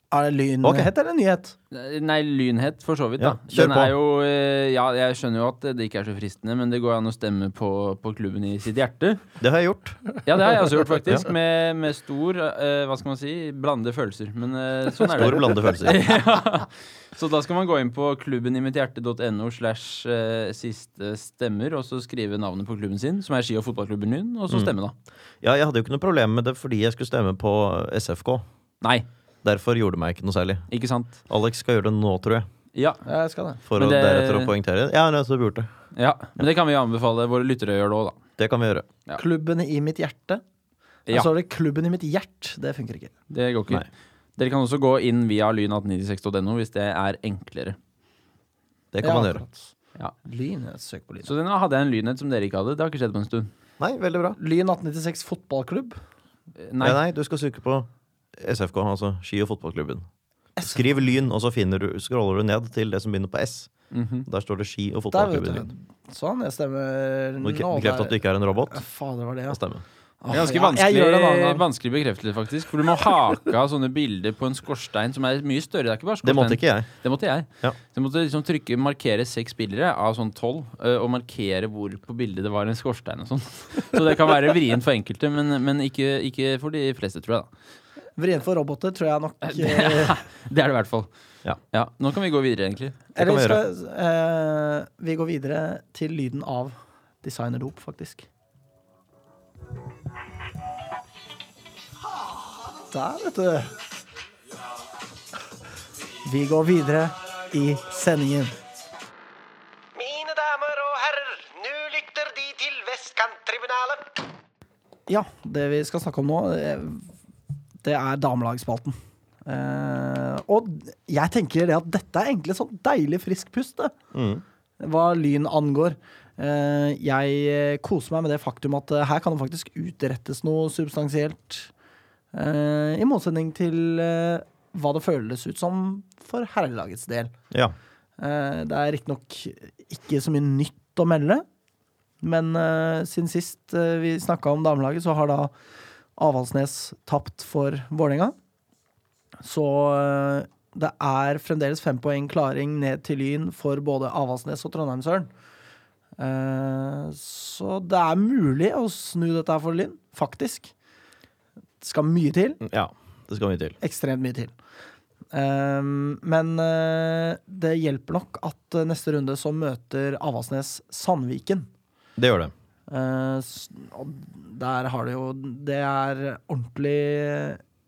S1: Er det lynhet
S2: Ok.
S1: eller nyhet?
S3: Nei, lynhet, for så vidt.
S2: Ja,
S3: da
S2: kjør
S3: Den
S2: på.
S3: er jo, eh, ja, Jeg skjønner jo at det ikke er så fristende, men det går an å stemme på, på klubben i sitt hjerte.
S2: Det har jeg gjort.
S3: Ja, det har jeg også gjort, faktisk. Med, med stor eh, Hva skal man si? Blandede følelser. Men eh, sånn er det.
S2: Store blandede følelser.
S3: <laughs> ja. Så da skal man gå inn på klubbenimithjerte.no slash eh, siste stemmer, og så skrive navnet på klubben sin, som er ski- og fotballklubben Lyn, og så stemme, da.
S2: Ja, jeg hadde jo ikke noe problem med det fordi jeg skulle stemme på SFK.
S3: Nei,
S2: Derfor gjorde det meg ikke noe særlig.
S3: ikke sant?
S2: Alex skal gjøre det nå, tror jeg.
S3: Ja.
S1: Jeg skal det.
S2: For
S3: Men
S2: å
S3: det-
S2: deretter å poengtere. Ja, nettopp gjort det.
S3: ja. Men det kan vi jo anbefale våre lyttere å gjøre det òg, da.
S2: Det kan vi gjøre.
S3: Ja.
S1: Klubben i mitt hjerte.
S3: Ja.
S1: Og så er det klubben i mitt hjert. Det funker ikke.
S3: Det går ikke.
S2: Nei.
S3: Dere kan også gå inn via lyn1896.no hvis det er enklere.
S2: Det kan
S1: Ja,
S2: man gjøre.
S1: akkurat.
S3: Ja.
S1: Lyn. jeg Søk på lyn.
S3: Så den hadde jeg en lynhet som dere ikke hadde. Det har ikke skjedd på en stund.
S2: Nei, veldig bra.
S1: Lyn 1896 fotballklubb.
S3: Eh,
S2: Nei,
S3: Nei,
S2: nei, du skal søke på SFK, altså ski- og fotballklubben. Skriv Lyn, og så finner du, scroller du ned til det som begynner på S.
S3: Mhm.
S2: Der står det ski- og
S1: Der, vet
S2: fotballklubben Lyn.
S1: du. Sånn, jeg stemmer
S2: Nå
S1: nå.
S2: bekrefter at du ikke er en robot.
S1: Ja, Fader, var det, ja.
S2: Det stemmer.
S3: det er ganske
S1: Ja, jeg
S3: vanskelig,
S1: gjør det en annen gang.
S3: vanskelig bekreftelse, faktisk. For du må hake av sånne bilder på en skorstein som er mye større. Det er ikke bare
S2: Det
S3: skorstein.
S2: måtte ikke jeg.
S3: Det måtte jeg.
S2: Ja.
S3: Så jeg måtte liksom trykke, markere seks spillere av sånn tolv, eh, og markere hvor på bildet det var en skorstein og sånn. <laughs> Så det kan være vrient for enkelte, men, men ikke, ikke for de fleste, tror jeg. da.
S1: Vrient for roboter, tror jeg nok.
S3: Det
S1: eh,
S3: Det er det i hvert fall.
S2: Ja.
S3: Nå kan vi gå videre, egentlig.
S2: kan
S1: Eller
S2: vi
S1: skal eh, vi gå videre til lyden av designerdop, faktisk. Der, vet du. Vi går videre i sendingen.
S5: Mine damer og herrer, nå lytter De til Vestkanttribunalet.
S1: Ja, det vi skal snakke om nå, eh, det er damelagsspalten. Eh, og jeg tenker det at dette er egentlig sånn deilig frisk pust, det. Hva lyn angår. Eh, jeg eh, koser meg med det faktum at eh, her kan det faktisk utrettes noe substansielt. eh, I motsetning til eh, hva det føles ut som for herrelagets del.
S2: Ja.
S1: Eh, Det er riktignok ikke så mye nytt å melde, men eh, siden sist eh, vi snakka om damelaget, så har da Avaldsnes tapt for Vålerenga. Så eh, det er fremdeles fem poeng klaring ned til Lyn for både Avaldsnes og Trondheimsøren. Eh, Så det er mulig å snu dette her for Lyn, faktisk. Det skal mye til
S2: ja. Det skal mye til.
S1: ekstremt mye til. Ehm, men eh, det hjelper nok at eh, neste runde så møter Avaldsnes Sandviken.
S2: Det gjør det.
S1: Eh, s- og der har det jo Det er ordentlig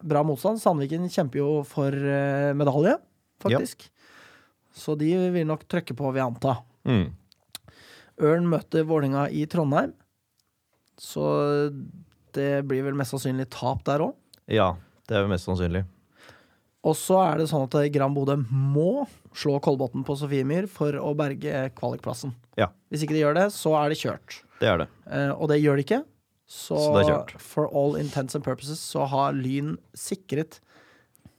S1: bra motstand. Sandviken kjemper jo for eh, medalje, faktisk. Så de vil nok trykke på, vil jeg anta.
S2: Mm.
S1: Ørn møter Vålinga i Trondheim. Så det blir vel mest sannsynlig tap der òg.
S2: Ja. Det er jo mest sannsynlig.
S1: Og så er det sånn at Gran Bodø må slå Kolbotn på Sofiemyr for å berge kvalikplassen.
S2: Ja.
S1: Hvis ikke de gjør det, så er det kjørt.
S2: Det er det.
S1: Eh, og det gjør de ikke. Så,
S2: Så det er kjørt.
S1: for all intents and purposes så har Lyn sikret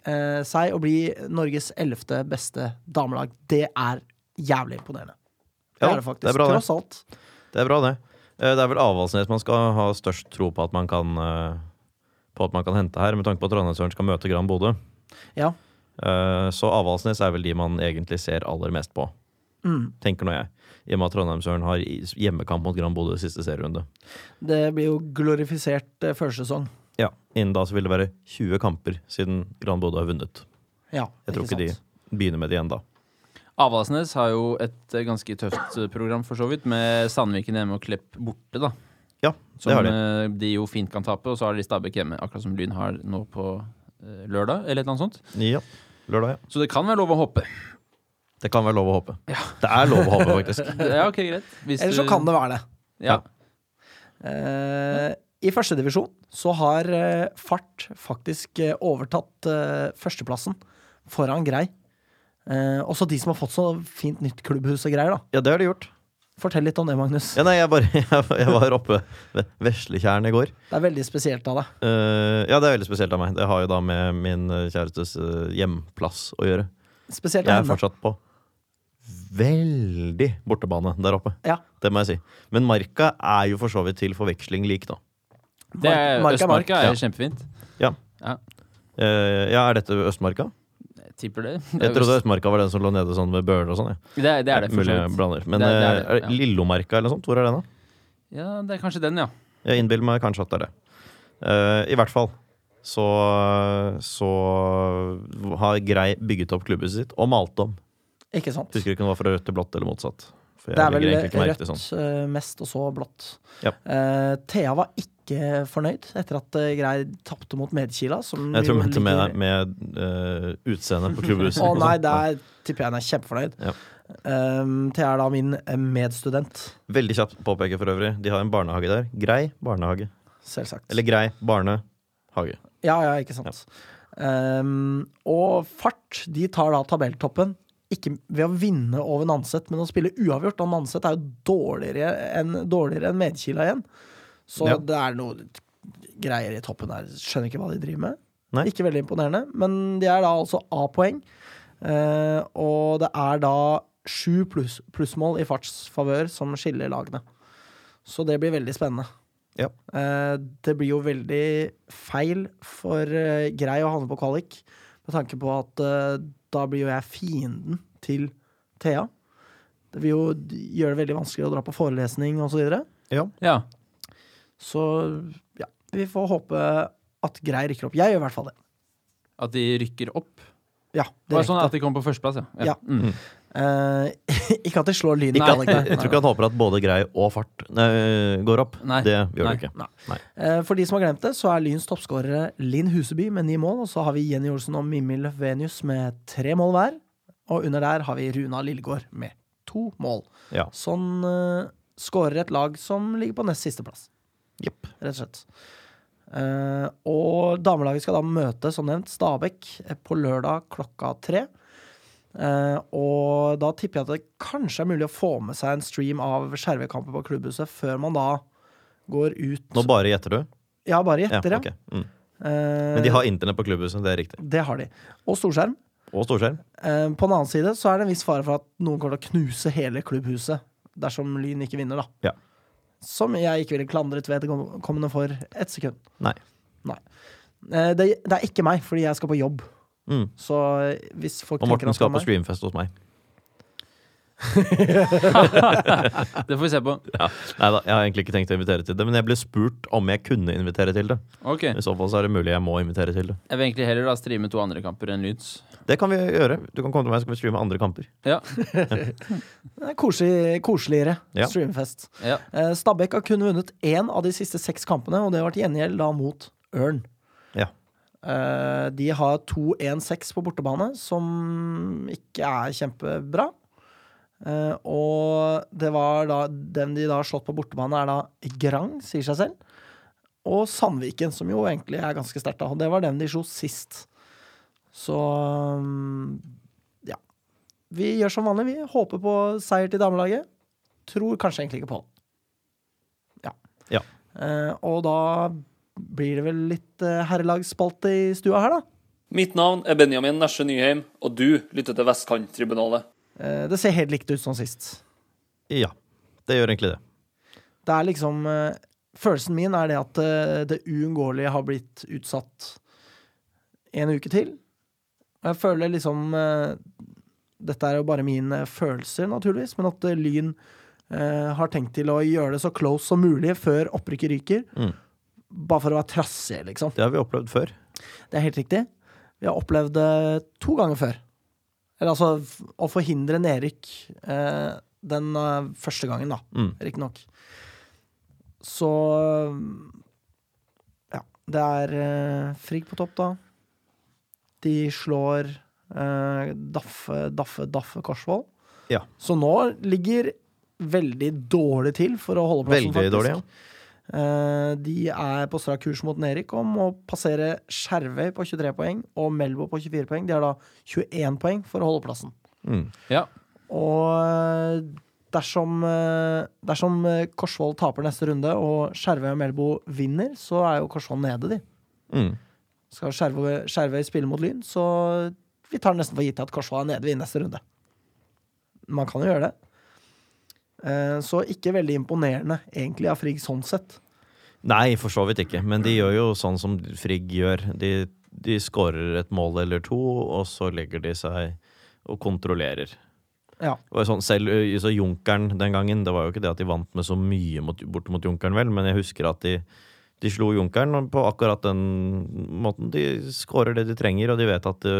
S1: eh, seg å bli Norges ellevte beste damelag. Det er jævlig imponerende. Det
S2: Ja,
S1: er det faktisk.
S2: det er bra det.
S1: Tross alt.
S2: Det er bra, det. Eh, Det er vel Avaldsnes man skal ha størst tro på at man kan, eh, på at man kan hente her, med tanke på at Trondheimsøren skal møte Gran Bodø.
S1: Ja.
S2: Eh, Så Avaldsnes er vel de man egentlig ser aller mest på,
S1: Mm.
S2: tenker nå jeg. I og med at Trondheimsøren har i- hjemmekamp mot Gran Bodø i siste serierunde.
S1: Det blir jo glorifisert eh, førsesong.
S2: Ja, Innen da så vil det være 20 kamper siden Gran Bodø har vunnet.
S1: Ja,
S2: Jeg tror ikke de begynner med det igjen da.
S3: Avaldsnes har jo et eh, ganske tøft eh, program, for så vidt, med Sandviken hjemme og Klepp borte, da.
S2: Ja, sånn, det har
S3: Som
S2: de.
S3: eh, de jo fint kan tape, og så har de Stabæk hjemme, akkurat som Lyn har nå på eh, lørdag, eller et eller annet sånt.
S2: Ja. Lørdag, ja.
S3: Så det kan være lov å håpe.
S2: eh, Det kan være lov å håpe. Det er lov å håpe, faktisk.
S3: Ja, ok, greit. Hvis
S1: Eller så
S3: du-
S1: kan det være det.
S3: Ja.
S1: Eh, I førstedivisjon så har eh, Fart faktisk eh, overtatt eh, førsteplassen foran Grei. Eh, også de som har fått så fint nytt klubbhus og greier, da.
S2: <laughs> Ja, det har de gjort.
S1: Fortell litt om det, Magnus.
S2: Ja, nei, jeg, bare, <laughs> jeg var oppe ved Vesletjern i går.
S1: Det er veldig spesielt av deg.
S2: Eh, ja, det er veldig spesielt av meg. Det har jo da med min eh, kjærestes eh, hjemplass å gjøre.
S1: Spesielt
S2: Jeg
S1: av
S2: er
S1: henne.
S2: fortsatt på veldig bortebane der oppe.
S1: Ja.
S2: Det må jeg si. Men Marka er jo for så vidt til forveksling lik, da.
S3: Det er,
S1: Mark er mark.
S3: Østmarka er
S2: Ja.
S3: kjempefint.
S2: Eh, ja, er dette Østmarka?
S3: Jeg tipper det. Det
S2: Jeg
S3: er,
S2: trodde
S3: øst-
S2: Østmarka var den som lå nede sånn ved Bøler og sånn. Ja.
S3: det er, det, er det for
S2: Mulig
S3: så
S2: jeg
S3: vidt.
S2: blander. Men
S3: Det er- det er
S2: eh,
S3: det,
S2: er det Lillomarka eller noe sånt, hvor er den, da?
S3: Ja, det er kanskje den, ja.
S2: Jeg innbiller meg kanskje at det er det. Eh, I hvert fall så, så har Grei bygget opp klubbhuset sitt og malt om.
S1: Ikke sant?
S2: Husker ikke om det var fra rødt til blått eller motsatt. For jeg
S1: Det er vel eh,
S2: legger egentlig ikke merke
S1: rødt
S2: til sånt.
S1: eh, mest, og så blått.
S2: sånn. Ja.
S1: Eh, Thea var ikke ikke fornøyd etter at eh, Grei tapte mot Medkila. Som
S2: Jeg tror
S1: jo
S2: jeg mente med,
S1: ligger-
S2: med eh, utseendet
S1: <laughs>
S2: på klubbhuset.
S1: Å
S2: liksom. og
S1: nei,
S2: sånt.
S1: der tipper jeg han er kjempefornøyd.
S2: Ja.
S1: Um, Thea er da min eh, medstudent,
S2: Veldig kjapt påpeke for øvrig. De har en barnehage der. Grei barnehage.
S1: selvsagt.
S2: Eller grei barnehage.
S1: Ja, ja, ikke sant. Um, og Fart de tar da tabelltoppen. Ikke ved å vinne over Nanset, men å spille uavgjort. Da Nanset er jo dårligere enn dårligere enn Medkila igjen. Så
S2: Ja.
S1: det er noe greier i toppen der. Skjønner ikke hva de driver med.
S2: Nei.
S1: Ikke veldig imponerende. Men de er da altså A-poeng. Eh, og det er da sju pluss, plussmål i Farts favør som skiller lagene. Så det blir veldig spennende.
S2: Ja.
S1: Eh, det blir jo veldig feil for eh, Grei å havne på kvalik, med tanke på at eh, da blir jo jeg fienden til Thea. Det vil jo gjøre det veldig vanskelig å dra på forelesning osv. Så, videre.
S3: Ja.
S1: så ja, vi får håpe at Grei rykker opp. Jeg gjør i hvert fall det.
S3: At de rykker opp.
S1: Ja,
S3: Det var
S1: direkte.
S3: sånn at de kom på førsteplass, ja.
S1: Ja.
S3: Mm.
S1: Eh, <laughs> ikke at de slår lyden.
S3: Ikke
S1: i
S3: at-
S1: kvalik,
S2: Jeg,
S3: <laughs>
S1: nei.
S2: jeg tror ikke han håper at både grei og fart nei, går opp.
S3: Nei.
S2: Det gjør
S3: Nei.
S2: du ikke.
S1: Eh, For de som har glemt det, så er Lyns toppskårere Linn Huseby med ni mål. Og så har vi Jenny Olsen og Mimmi Løfvenius med tre mål hver. Og under der har vi Runa Lillegård med to mål.
S2: Ja.
S1: Sånn eh, skårer et lag som ligger på nest siste plass,
S2: Jepp.
S1: rett og slett. Eh, og damelaget skal da møte, som nevnt, Stabæk eh, på lørdag klokka tre. Eh, og da tipper jeg at det kanskje er mulig å få med seg en stream av Skjervøy-kampen på klubbhuset før man da går ut
S2: Nå bare gjetter du?
S1: Ja, bare
S2: Ja,
S1: gjetter, ja.
S2: ok. mm.
S1: Eh,
S2: Men de har internett på klubbhuset, det er riktig.
S1: Det har de. Og storskjerm.
S2: Og storskjerm.
S1: Eh, på den annen side så er det en viss fare for at noen kommer til å knuse hele klubbhuset dersom Lyn ikke vinner, da.
S2: Ja.
S1: Som jeg ikke ville klandret vedkommende for ett sekund.
S2: Nei.
S1: Nei. Eh, det, det er ikke meg, fordi jeg skal på jobb.
S2: Mm.
S1: Så eh, hvis folk
S2: Og
S1: tenker
S2: Morten
S1: at det
S2: skal
S1: er
S2: på
S1: meg
S2: streamfest hos meg.
S3: Det får vi se på.
S2: Nei da, jeg har egentlig ikke tenkt å invitere til det, men jeg ble spurt om jeg kunne invitere til det.
S3: Ok.
S2: I så fall så er det mulig jeg må invitere til det.
S3: Jeg vil egentlig heller da streame to andre kamper enn Lyns.
S2: Det kan vi gjøre. Du kan komme til meg, så skal vi streame andre kamper.
S3: Ja.
S1: Det er Eh, koselig, koseligere
S2: Ja.
S1: streamfest.
S3: ja.
S1: Eh, Stabæk har kun vunnet én av de siste seks kampene, og det har vært gjengjeld da mot Ørn.
S2: Ja.
S1: Eh, de har 2-1-6 på bortebane, som ikke er kjempebra. Eh, og det var da den de da har slått på bortebane, er da Grang, sier seg selv. Og Sandviken, som jo egentlig er ganske sterkt, da. Og det var den de slo sist. Så mm, ja. Vi gjør som vanlig, vi. Håper på seier til damelaget. Tror kanskje egentlig ikke på det. Ja.
S2: Ja.
S1: Eh, og da blir det vel litt eh, herrelagsspalte i stua her, da.
S6: Mitt navn er Benjamin Nesje Nyheim, og du lytter til Vestkanttribunalet.
S1: Eh, det ser helt likt ut som sist.
S2: Ja, det gjør egentlig det.
S1: Det er liksom eh, Følelsen min er det at eh, det uunngåelige har blitt utsatt en uke til. Og Jeg føler liksom eh, Dette er jo bare mine følelser, naturligvis, men at eh, Lyn eh, har tenkt til å gjøre det så close som mulig før opprykket ryker.
S2: Mm.
S1: Bare for å være trassige, liksom.
S2: Det har vi opplevd før.
S1: Det er helt riktig. Vi har opplevd det to ganger før. Eller altså f- å forhindre nedrykk eh, den eh, første gangen, da.
S2: Mm.
S1: Riktignok. Så Ja. Det er eh, Frigg på topp, da. De slår eh, Daffe, Daffe, Daffe Korsvoll.
S2: Ja.
S1: Så nå ligger veldig dårlig til for å holde plassen,
S2: Veldig dårlig, ja.
S1: Eh, de er på strak kurs mot Nerik om å passere Skjervøy på 23 poeng og Melbo på 24 poeng. De har da 21 poeng for å holde plassen.
S2: Mm.
S3: ja.
S1: Og eh, dersom, eh, dersom eh, Korsvoll taper neste runde og Skjervøy og Melbo vinner, så er jo Korsvoll nede, de.
S2: Mm.
S1: Skal Skjervøy, Skjervøy spille mot Lyn, så vi tar nesten for gitt at Korsvoll er nede ved neste runde. Man kan jo gjøre det. Eh, Så ikke veldig imponerende, egentlig, av Frigg sånn sett.
S2: Nei, for så vidt ikke. Men de gjør jo sånn som Frigg gjør. De, de skårer et mål eller to, og så legger de seg og kontrollerer.
S1: Ja.
S2: Det var jo sånn, selv ø, så Junkeren den gangen, det var jo ikke det at de vant med så mye mot, bort mot Junkeren, vel, men jeg husker at de, de slo Junkeren på akkurat den måten. De skårer det de trenger, og de vet at ø,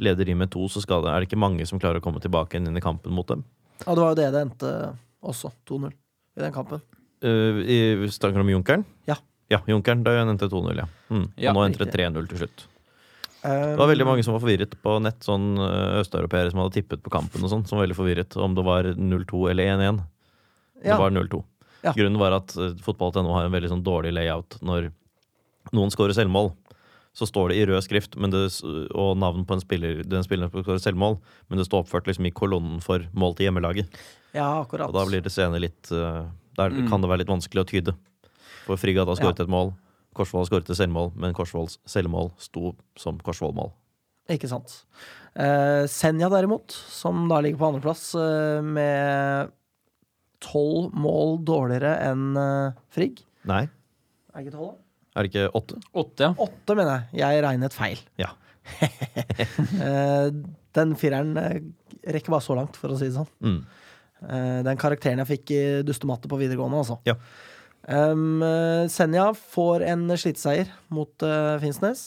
S2: leder de med to, så skal det, er det ikke mange som klarer å komme tilbake igjen inn i kampen mot dem.
S1: Ja, det eh, var jo det det endte også. 2-0 i den kampen.
S2: Uh, i, Eh, snakker du om Junkeren?
S1: Ja.
S2: Ja, Junkeren. Da endte 2-0, ja. Mm.
S3: Ja,
S2: og nå endte det
S1: riktig.
S2: 3-0 til slutt.
S1: Eh,
S2: Det var veldig mange som var forvirret på nett, sånn ø, østeuropeere som hadde tippet på kampen og sånn, som var veldig forvirret om det var 0-2 eller 1-1.
S1: Ja.
S2: Det var 0-2.
S1: Ja.
S2: Grunnen var at eh, ø, fotball.no har en veldig sånn dårlig layout når noen scorer selvmål. Så står det i rød skrift men det, s- og navn på en spiller, den spilleren som scorer selvmål, men det står oppført liksom i kolonnen for mål til hjemmelaget.
S1: Ja, akkurat.
S2: Og da blir det senere litt eh, Der
S1: Mm.
S2: kan det være litt vanskelig å tyde. For Frigg hadde skåret et mål, Korsvoll har skåret et selvmål, men Korsvolls selvmål sto som Korsvoll-mål.
S1: Ikke sant. Eh, Senja derimot, som da ligger på andreplass eh, med tolv mål dårligere enn eh, Frigg.
S2: Nei,
S1: Er det ikke tolv, da?
S2: er det ikke åtte?
S3: Åtte, ja.
S1: Åtte, mener jeg. Jeg regnet feil.
S2: Ja.
S1: Eh, den fireren eh, rekker bare så langt, for å si det sånn.
S2: Mm.
S1: Eh, den karakteren jeg fikk i dustematte på videregående, altså.
S2: Ja.
S1: Um, eh, Senja får en sliteseier mot eh, Finnsnes.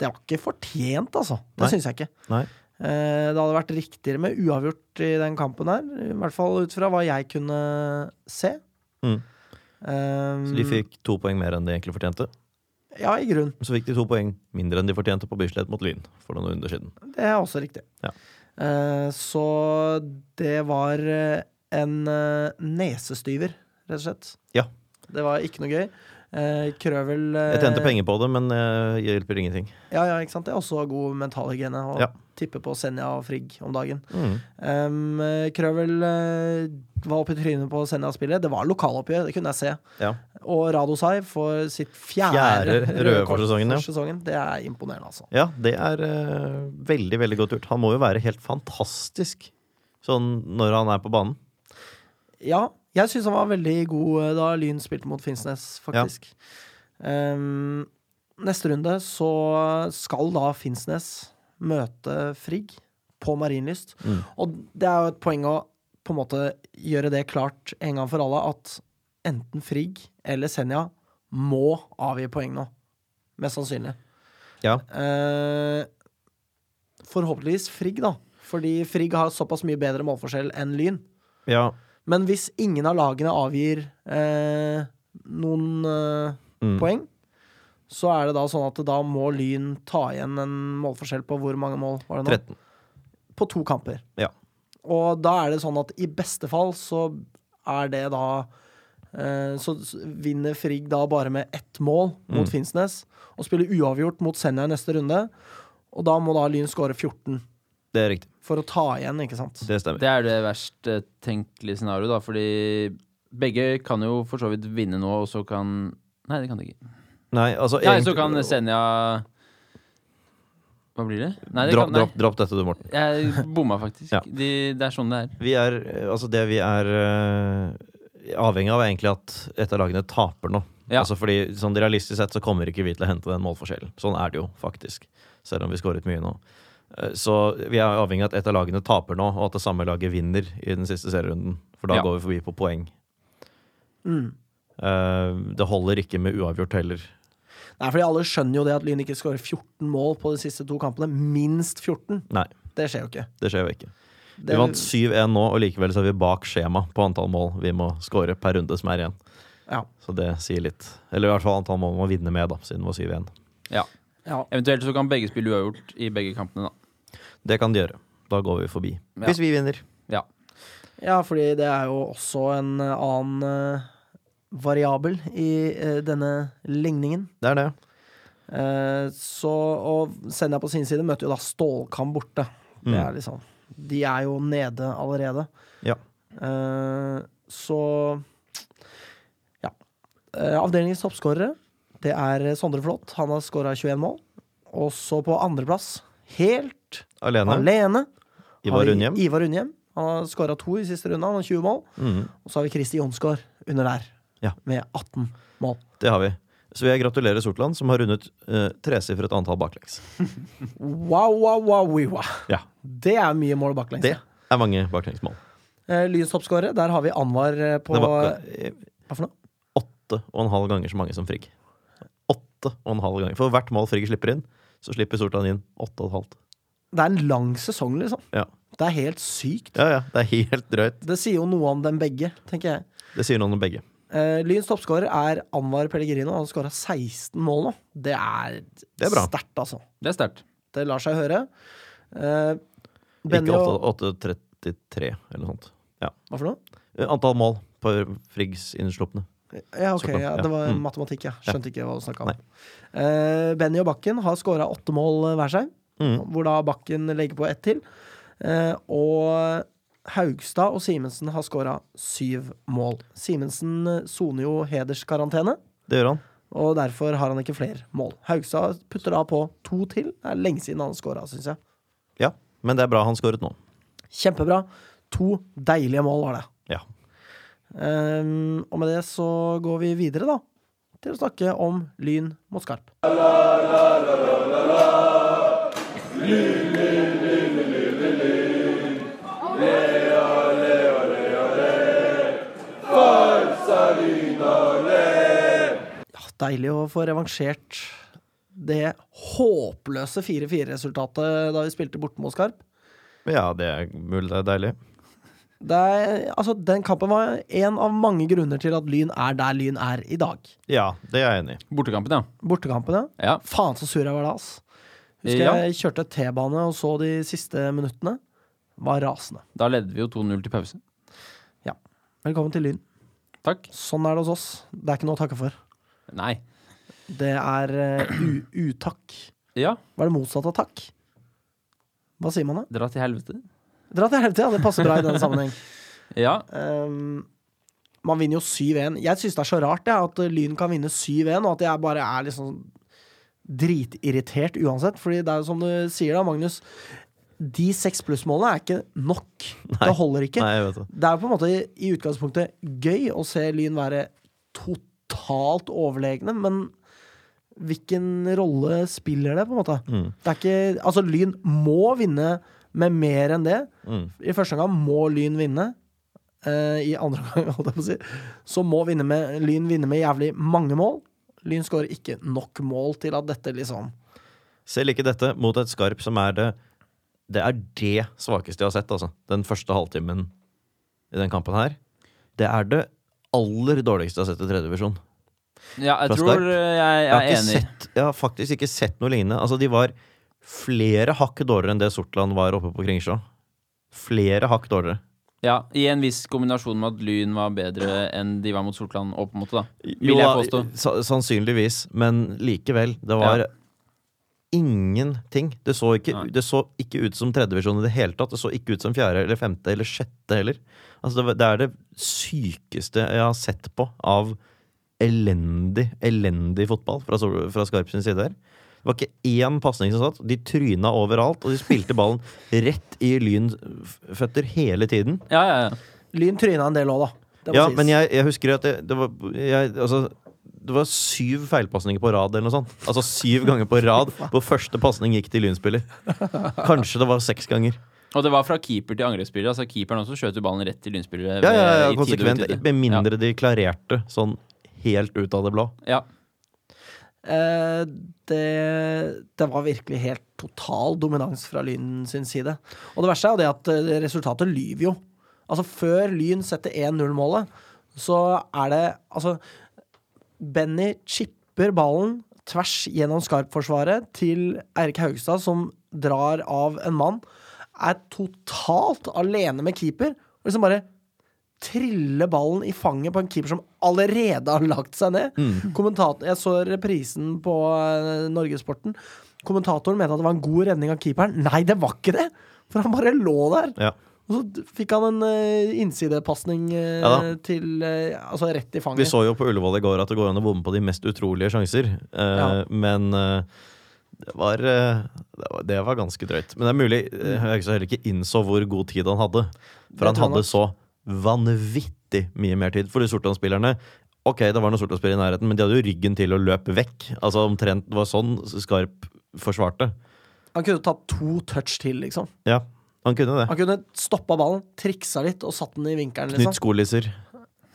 S1: Det var ikke fortjent, altså.
S2: Nei.
S1: Det syns jeg ikke.
S2: Nei.
S1: Eh, det hadde vært riktigere med uavgjort i den kampen her. I hvert fall ut fra hva jeg kunne se.
S2: Mm.
S1: Um,
S2: Så de fikk to poeng mer enn de egentlig fortjente.
S1: Ja, i grunn.
S2: Så fikk de to poeng mindre enn de fortjente på Bislett mot Lyn for noen runder siden.
S1: Det er også riktig.
S2: Ja.
S1: Eh, så det var eh, en eh, nesestyver, rett og slett.
S2: Ja.
S1: Det var ikke noe gøy. Eh, Krøvel eh,
S2: Jeg tjente penger på det, men eh, hjelper ingenting.
S1: Ja, ja, ikke sant? Det er også god mentalhygiene å
S2: Ja.
S1: tippe på Senja og Frigg om dagen.
S2: Mm.
S1: Um, eh, Krøvel eh, var oppe i trynet på Senja-spillet. Det var lokaloppgjør, det kunne jeg se.
S2: Ja.
S1: Og Radosai får sitt
S2: Fjerde
S1: fjerde,
S2: røde
S1: kort
S2: for sesongen, ja.
S1: for sesongen. Det er imponerende, altså.
S2: ja, det er eh, veldig, veldig godt gjort. Han må jo være helt fantastisk sånn når han er på banen.
S1: Ja, jeg syns han var veldig god eh, da Lyn spilte mot Finnsnes, faktisk. Um, neste runde så skal da Finnsnes møte Frigg på Marienlyst.
S2: Mm.
S1: Og det er jo et poeng å på en måte gjøre det klart en gang for alle at enten Frigg eller Senja må avgi poeng nå. Mest sannsynlig.
S2: Ja.
S1: Eh, forhåpentligvis Frigg, da. Fordi Frigg har såpass mye bedre målforskjell enn Lyn.
S2: Ja.
S1: Men hvis ingen av lagene avgir eh, noen eh,
S2: Mm.
S1: poeng, så er det da sånn at da må Lyn ta igjen en målforskjell på hvor mange mål var det nå?
S2: 13.
S1: På to kamper.
S2: Ja.
S1: Og da er det sånn at i beste fall så er det da eh, Så s- vinner Frigg da bare med ett mål mot Finnsnes, og spiller uavgjort mot Senja i neste runde. Og da må da Lyn skåre 14
S2: Det er riktig.
S1: for å ta igjen, ikke sant?
S2: Det stemmer.
S3: Det er det verst eh, tenkelige scenarioet, da, fordi begge kan jo for så vidt vinne nå, og så kan Nei, det kan de ikke.
S2: Nei, altså
S3: Nei,
S2: egentlig-
S3: så kan Senja Hva blir det? Nei, det
S2: dropp,
S3: kan, nei.
S2: dropp, dropp dette, du, Morten.
S3: Jeg bomma faktisk. <laughs>
S2: Ja.
S3: De, det er sånn det er.
S2: Vi er, eh, altså det vi er eh, avhengig av, er egentlig at et av lagene taper nå.
S3: Ja.
S2: Altså fordi sånn Realistisk sett så kommer ikke vi til å hente den målforskjellen. Sånn er det jo faktisk. Selv om vi skåret mye nå. Eh, Så vi er avhengig av at et av lagene taper nå, og at det samme laget vinner i den siste serierunden. For da
S3: Ja.
S2: går vi forbi på poeng.
S1: Mm.
S2: Eh, Det holder ikke med uavgjort heller.
S1: Nei, fordi alle skjønner jo det at Lyn ikke skårer 14 mål på de siste to kampene. Minst 14.
S2: Nei,
S1: Det skjer jo ikke.
S2: det skjer jo ikke. Vi
S1: Det,
S2: vant 7-1 nå, og likevel så er vi bak skjema på antall mål vi må skåre per runde som er igjen.
S1: ja.
S2: Så det sier litt. Eller i hvert fall antall mål man vinner med, da, siden det var 7-1.
S3: Ja.
S1: Ja.
S3: Eventuelt så kan begge spille uavgjort i begge kampene, da.
S2: Det kan de gjøre. Da går vi forbi.
S3: Ja.
S2: Hvis vi vinner.
S3: Ja.
S1: ja, fordi det er jo også en eh, annen eh, variabel i eh, denne ligningen.
S2: Det er det.
S1: Eh, så, og Senja på sin side møter jo da Stålkam borte. Det
S2: Mm.
S1: er liksom, de er jo nede allerede.
S2: Ja.
S1: Eh, så Ja. Eh, avdelingens toppskårere, det er Sondre Flått. Han har skåra 21 mål. Og så på andreplass, helt
S2: Alene.
S1: alene, har
S2: Ivar
S1: vi
S2: Undhjem.
S1: Ivar Undhjem. Han har skåra to i siste runde, han har 20 mål.
S2: Mhm.
S1: Og så har vi Kristi Jonsgaard under der,
S2: Ja.
S1: med 18 mål.
S2: Det har vi. Så vil jeg gratulere Sortland, som har rundet eh, tresifret antall baklengs.
S1: Wow, wow, wow, wow, wow.
S2: Ja.
S1: Det er mye mål baklengs.
S2: Det er mange baklengsmål.
S1: Eh, Lyns toppskårer, der har vi Anwar eh, på
S2: Det var eh,
S1: Hva for noe?
S2: åtte og en halv ganger så mange som Frigg. Åtte og en halv ganger. For hvert mål Frigg slipper inn, så slipper Sortland inn åtte og et halvt.
S1: Det er en lang sesong, liksom.
S2: Ja.
S1: Det er helt sykt.
S2: ja, ja. Det er helt drøyt.
S1: Det sier jo noe om dem begge, tenker jeg.
S2: Det sier noen om begge.
S1: Eh, Lyns toppskårer er Anwar Pellegrino. Han har skåra 16 mål nå. Det er,
S2: Det er bra.
S1: sterkt, altså.
S3: Det er sterkt.
S1: Det lar seg høre. Eh, Benny
S2: Ikke
S1: og-
S2: 8 8.33 eller noe sånt.
S1: Hva for noe?
S2: Eh, Antall mål på Friggs innslupne.
S1: Ja, ok,
S2: Så klart,
S1: ja,
S2: ja.
S1: det var
S2: Mm.
S1: matematikk, ja. Skjønte ikke hva du snakka om. Eh, Benny og Bakken har skåra åtte mål eh, hver seg,
S2: Mm.
S1: hvor da Bakken legger på ett til. Eh, og Haugstad og Simensen har skåra syv mål. Simensen eh, soner jo hederskarantene,
S2: Det gjør han.
S1: og derfor har han ikke flere mål. Haugstad putter da på to til. Det er lenge siden han skåra, syns jeg.
S2: Ja. Men det er bra han skåret nå.
S1: Kjempebra. To deilige mål var det.
S2: Ja.
S1: Ehm, og med det så går vi videre, da, til å snakke om Lyn mot Skarp. Ja, deilig å få revansjert det håpløse 4-4-resultatet da vi spilte borte mot Skarp.
S2: Ja, det er mulig det er deilig.
S1: Det er, altså, den kampen var en av mange grunner til at Lyn er der Lyn er i dag.
S2: Ja, det er jeg enig i.
S3: Bortekampen, ja.
S1: Bortekampene.
S3: ja.
S1: Faen så sur jeg var da, ass. Husker
S3: Ja.
S1: jeg kjørte T-bane og så de siste minuttene. Var rasende.
S3: Da ledde vi jo 2-0 til pause.
S1: Velkommen til Lyn.
S3: Takk.
S1: Sånn er det hos oss. Det er ikke noe å takke for.
S3: Nei.
S1: Det er eh, u utakk.
S3: Ja,
S1: Hva er det motsatte av takk? Hva sier man da?
S3: dra til helvete.
S1: Dra til helvete, ja. Det passer bra i den sammenheng.
S3: Ja,
S1: Ehm, man vinner jo 7-1. Jeg syns det er så rart jeg, at Lyn kan vinne 7-1, og at jeg bare er liksom dritirritert uansett. Fordi det er jo som du sier da, Magnus. De seks plussmålene er ikke nok. Det holder ikke.
S2: Nei, jeg vet det.
S1: Det er jo på en måte i, i utgangspunktet gøy å se Lyn være totalt overlegne, men hvilken rolle spiller det, på en måte?
S2: Mm.
S1: Det er ikke Altså, Lyn må vinne med mer enn det.
S2: Mm.
S1: I første omgang må Lyn vinne. Eh, I andre <laughs> omgang, holdt jeg på å si, så må vinne med, Lyn vinne med jævlig mange mål. Lyn skårer ikke nok mål til at dette liksom
S2: Selv ikke dette mot et Skarp som er det Det er det svakeste jeg har sett, altså. Den første halvtimen i den kampen her. Det er det aller dårligste jeg har sett i tredje divisjon.
S3: ja jeg
S2: Fra
S3: tror
S2: Skarp.
S3: eh, jeg,
S2: Jeg har,
S3: jeg er
S2: ikke
S3: enig.
S2: sett, jeg har faktisk ikke sett noe lignende. Altså, de var flere hakk dårligere enn det Sortland var oppe på Kringsjå. Flere hakk dårligere.
S3: Ja, I en viss kombinasjon med at Lyn var bedre enn de var mot Sortland, og på en måte, da.
S2: Jo,
S3: Vil jeg påstå.
S2: sa- sannsynligvis, men likevel. Det var
S3: Ja.
S2: ingenting. Det så, ikke,
S3: Nei.
S2: det så ikke ut som tredjedivisjon i det hele tatt. Det så ikke ut som fjerde eller femte eller sjette heller. Altså, det, var- det er det sykeste jeg har sett på av elendig, elendig fotball fra, Sol- fra Skarp sin side her. Det var ikke én pasning som satt. De tryna overalt, og de spilte ballen rett i Lyns føtter hele tiden.
S3: Ja, ja, ja.
S1: Lyn tryna en del òg, da. Det må
S2: Ja,
S1: sies.
S2: men jeg, jeg husker at det, det var jeg, altså, det var syv feilpasninger på rad eller noe sånt. Altså syv ganger på rad hvor første pasning gikk til Lynspiller. Kanskje det var seks ganger.
S3: Og det var fra keeper til angrepsspiller. Altså Keeperen også skjøt jo ballen rett til lynspillere.
S2: Ja, ja, ja,
S3: ved- Eh, i tid og
S2: konsekvent.
S3: utide.
S2: Med mindre de klarerte sånn helt ut av det blå.
S3: Ja, ja.
S1: Eh, det, det var virkelig helt total dominans fra Lyn sin side. Og det verste er jo det at eh, resultatet lyver jo. Altså, før Lyn setter 1-0-målet, så er det Altså, Benny chipper ballen tvers gjennom Skarp-forsvaret til Eirik Haugstad, som drar av en mann. Er totalt alene med keeper. Og liksom bare trille ballen i fanget på en keeper som allerede har lagt seg ned.
S2: Mm.
S1: Kommentator, jeg så reprisen på eh, Norgesporten. Kommentatoren mente at det var en god redning av keeperen. Nei, det var ikke det! For han bare lå der.
S2: Ja.
S1: Og så d- fikk han en uh, innsidepasning eh,
S2: Ja da.
S1: til eh, Altså rett i
S2: Vi
S1: fanget.
S2: så jo på Ullevål i går at det går an å bomme på de mest utrolige sjanser. Eh,
S1: Ja.
S2: Men eh, det var, eh, det var Det var ganske drøyt. Men det er mulig eh, Høgstad heller ikke innså hvor god tid han hadde.
S1: Mm.
S2: For
S1: Det
S2: han
S1: tror jeg
S2: hadde så vanvittig mye mer tid. For de Sortland-spillerne Ok, det var noen Sortland-spillere i nærheten, men de hadde jo ryggen til å løpe vekk. Altså omtrent det var sånn Skarp forsvarte.
S1: Han kunne tatt to touch til, liksom.
S2: Ja, han kunne det.
S1: Han kunne stoppa ballen, triksa litt og satt den i vinkelen,
S2: Knytt
S1: liksom.
S2: skolisser.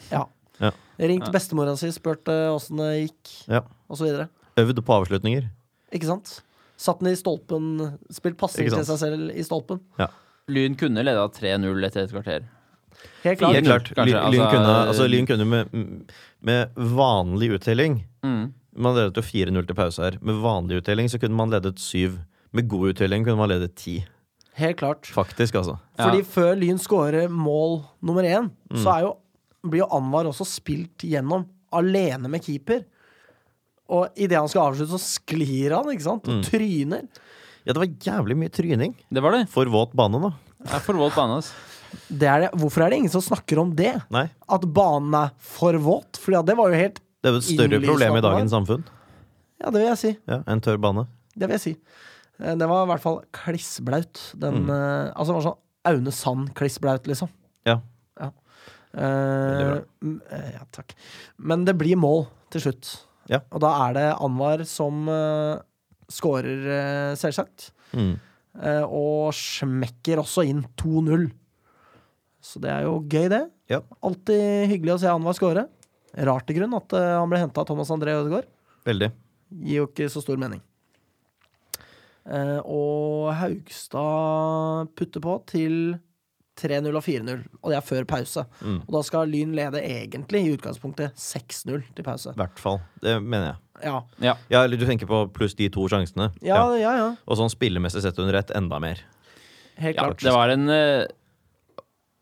S1: Ja.
S2: Ja.
S1: Ringt bestemora si, spurt eh, åssen det gikk,
S2: Ja.
S1: og så videre.
S2: Øvd på avslutninger.
S1: Ikke sant? Satt den i stolpen, spilt pasning
S2: Ikke
S1: til
S2: sant?
S1: seg selv i stolpen.
S3: Lyn kunne leda 3-0 etter et kvarter.
S1: Helt
S2: Helt
S1: klart.
S2: klart.
S3: Kanskje,
S2: Lyn,
S3: altså,
S2: Lyn kunne, altså,
S3: eh,
S2: Lyn kunne med, med vanlig uttelling
S3: Mm.
S2: Man ledet jo 4-0 til pause her. Med vanlig uttelling så kunne man ledet 7. Med god uttelling kunne man ledet 10.
S1: Helt klart.
S2: Faktisk, altså.
S1: Fordi
S3: Ja.
S1: før Lyn skårer mål nummer én, så
S2: Mm.
S1: er jo, blir jo Anwar også spilt gjennom alene med keeper. Og idet han skal avslutte, så sklir han, ikke sant?
S2: Mm.
S1: Og tryner.
S2: Ja, det var jævlig mye tryning.
S3: Det var det.
S2: For våt bane, da.
S3: Det er for våt bane, altså.
S2: <laughs>
S3: ass.
S1: Det er det. Hvorfor er det ingen som snakker om det?
S2: Nei.
S1: At banen er for våt? For det var jo helt
S2: Det er jo et større
S1: Innlysende
S2: problem i
S1: at det var.
S2: dagens samfunn.
S1: Ja, det vil jeg si.
S2: Ja, En tørr bane.
S1: Det vil jeg si. Eh, Det var i hvert fall klissblaut. Den,
S2: Mm.
S1: eh, altså, det var sånn Aune Sand-klissblaut, liksom.
S2: Ja.
S1: Eh,
S2: Veldig
S1: m- eh, ja, takk. Men det blir mål til slutt.
S2: Ja.
S1: Og da er det Anwar som eh, scorer, eh, selvsagt.
S2: Mm.
S1: Eh, og smekker også inn 2-0. Så det er jo gøy, det.
S2: Ja.
S1: Alltid hyggelig å se Anwar score. Rart i grunn at eh, han ble henta av Thomas André Ødegaard.
S2: Veldig.
S1: Gir jo ikke så stor mening. Eh, og Haugstad putter på til 3-0 og 4-0, og det er før pause.
S2: Mm.
S1: Og da skal Lyn lede egentlig i utgangspunktet 6-0 til pause.
S2: I hvert fall. Det mener jeg.
S1: Ja,
S2: Ja, eller Du tenker på pluss de to sjansene.
S1: ja, ja. ja.
S2: Og sånn spillemessig sett under ett enda mer.
S1: Helt
S3: Ja,
S1: klart.
S3: det var en eh,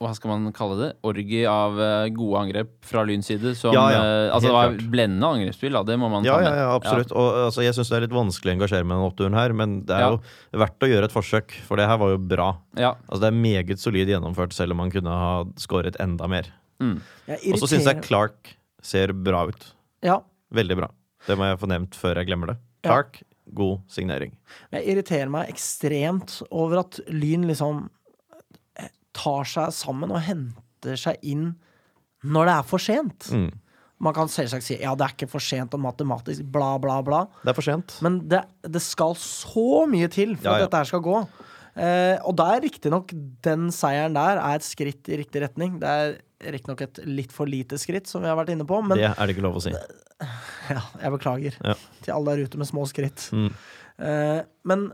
S3: hva skal man kalle det? Orgi av eh, gode angrep fra Lyns side. Som,
S2: Ja, ja.
S3: eh, altså,
S2: Helt
S3: det var
S2: klart.
S3: blendende angrepsspill, da. Det må man
S2: Ja,
S3: ta
S2: ja,
S3: med.
S2: ja, absolutt. Og altså, jeg syns det er litt vanskelig å engasjere meg i den oppturen her, men det er
S3: Ja.
S2: jo verdt å gjøre et forsøk, for det her var jo bra.
S3: Ja,
S2: Altså, det er meget solid gjennomført, selv om han kunne ha skåret enda mer.
S1: Jeg
S2: Og så syns jeg
S1: irriterer-
S2: Clark ser bra ut.
S1: ja,
S2: Veldig bra. Det må jeg få nevnt før jeg glemmer det.
S1: Ja.
S2: Clark, god signering.
S1: Jeg irriterer meg ekstremt over at Lyn liksom tar seg sammen og henter seg inn når det er for sent.
S2: Mm.
S1: Man kan selvsagt si ja, det er ikke for sent og matematisk bla, bla, bla.
S2: Det er for sent.
S1: Men det, det skal så mye til for
S2: Ja, ja.
S1: at dette her skal gå. Eh, og da er riktignok den seieren der er et skritt i riktig retning. Det er riktignok et litt for lite skritt, som vi har vært inne på, men
S2: det er det ikke lov å
S1: <laughs>
S2: si.
S1: ja, jeg beklager
S2: Ja.
S1: til alle der ute med små skritt.
S2: Mm.
S1: Eh, men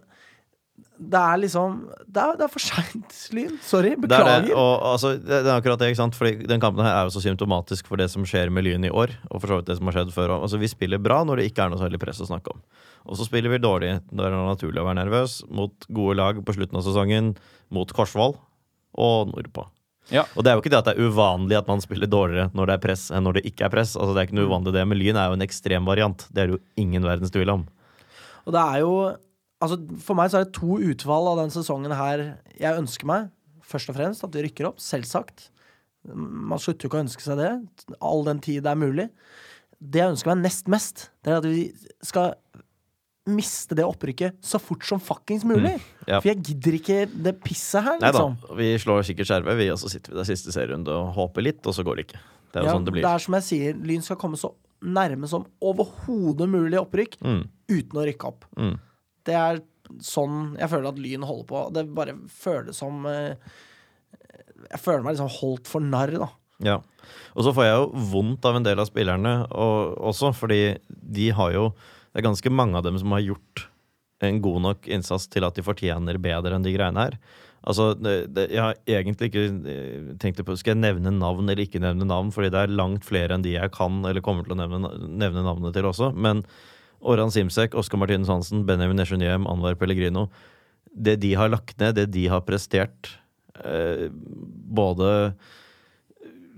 S1: det er liksom Det er, det er for seint, Lyn. Sorry.
S2: Det er, det,
S1: Beklager.
S2: og, altså, det, det er akkurat det, ikke sant? Fordi den kampen her er jo så symptomatisk for det som skjer med Lyn i år. Og for så vidt det som har skjedd før også. Altså, vi spiller bra når det ikke er noe særlig press å snakke om. Og så spiller vi dårlig når det er naturlig å være nervøs, mot gode lag på slutten av sesongen, mot Korsvoll og nordpå.
S3: Ja.
S2: Og det er jo ikke det at det er uvanlig at man spiller dårligere når det er press, enn når det ikke er press. Altså, det er ikke noe uvanlig det, men Lyn er jo en ekstrem variant. Det er det jo ingen verdens tvil om.
S1: Og det er jo Altså, for meg så er det to utfall av den sesongen her jeg ønsker meg. Først og fremst at vi rykker opp, selvsagt. Man slutter jo ikke å ønske seg det, all den tid det er mulig. Det jeg ønsker meg nest mest, det er at vi skal miste det opprykket så fort som fuckings mulig.
S2: ja.
S1: For jeg gidder ikke det pisset her,
S2: Nei da,
S1: liksom.
S2: vi slår sikkert skjervet, vi, og så sitter vi der siste serierunde og håper litt, og så går det ikke. Det er jo
S1: Ja,
S2: sånn det blir.
S1: det er som jeg sier, Lyn skal komme så nærme som overhodet mulig opprykk
S2: Mm.
S1: uten å rykke opp.
S2: Mm.
S1: Det er sånn jeg føler at Lyn holder på. Det bare føles som eh, Jeg føler meg liksom holdt for narr, da.
S2: Ja. Og så får jeg jo vondt av en del av spillerne og, også, fordi de har jo Det er ganske mange av dem som har gjort en god nok innsats til at de fortjener bedre enn de greiene her. Altså, det, det, Jeg har egentlig ikke eh, tenkt på Skal jeg nevne navn eller ikke nevne navn, fordi det er langt flere enn de jeg kan eller kommer til å nevne, na- nevne navnet til også. Men Oran Simsek, Oskar Martinus Hansen, Benjamin Nesjunjem, Anwar Pellegrino Det de har lagt ned, det de har prestert, eh, både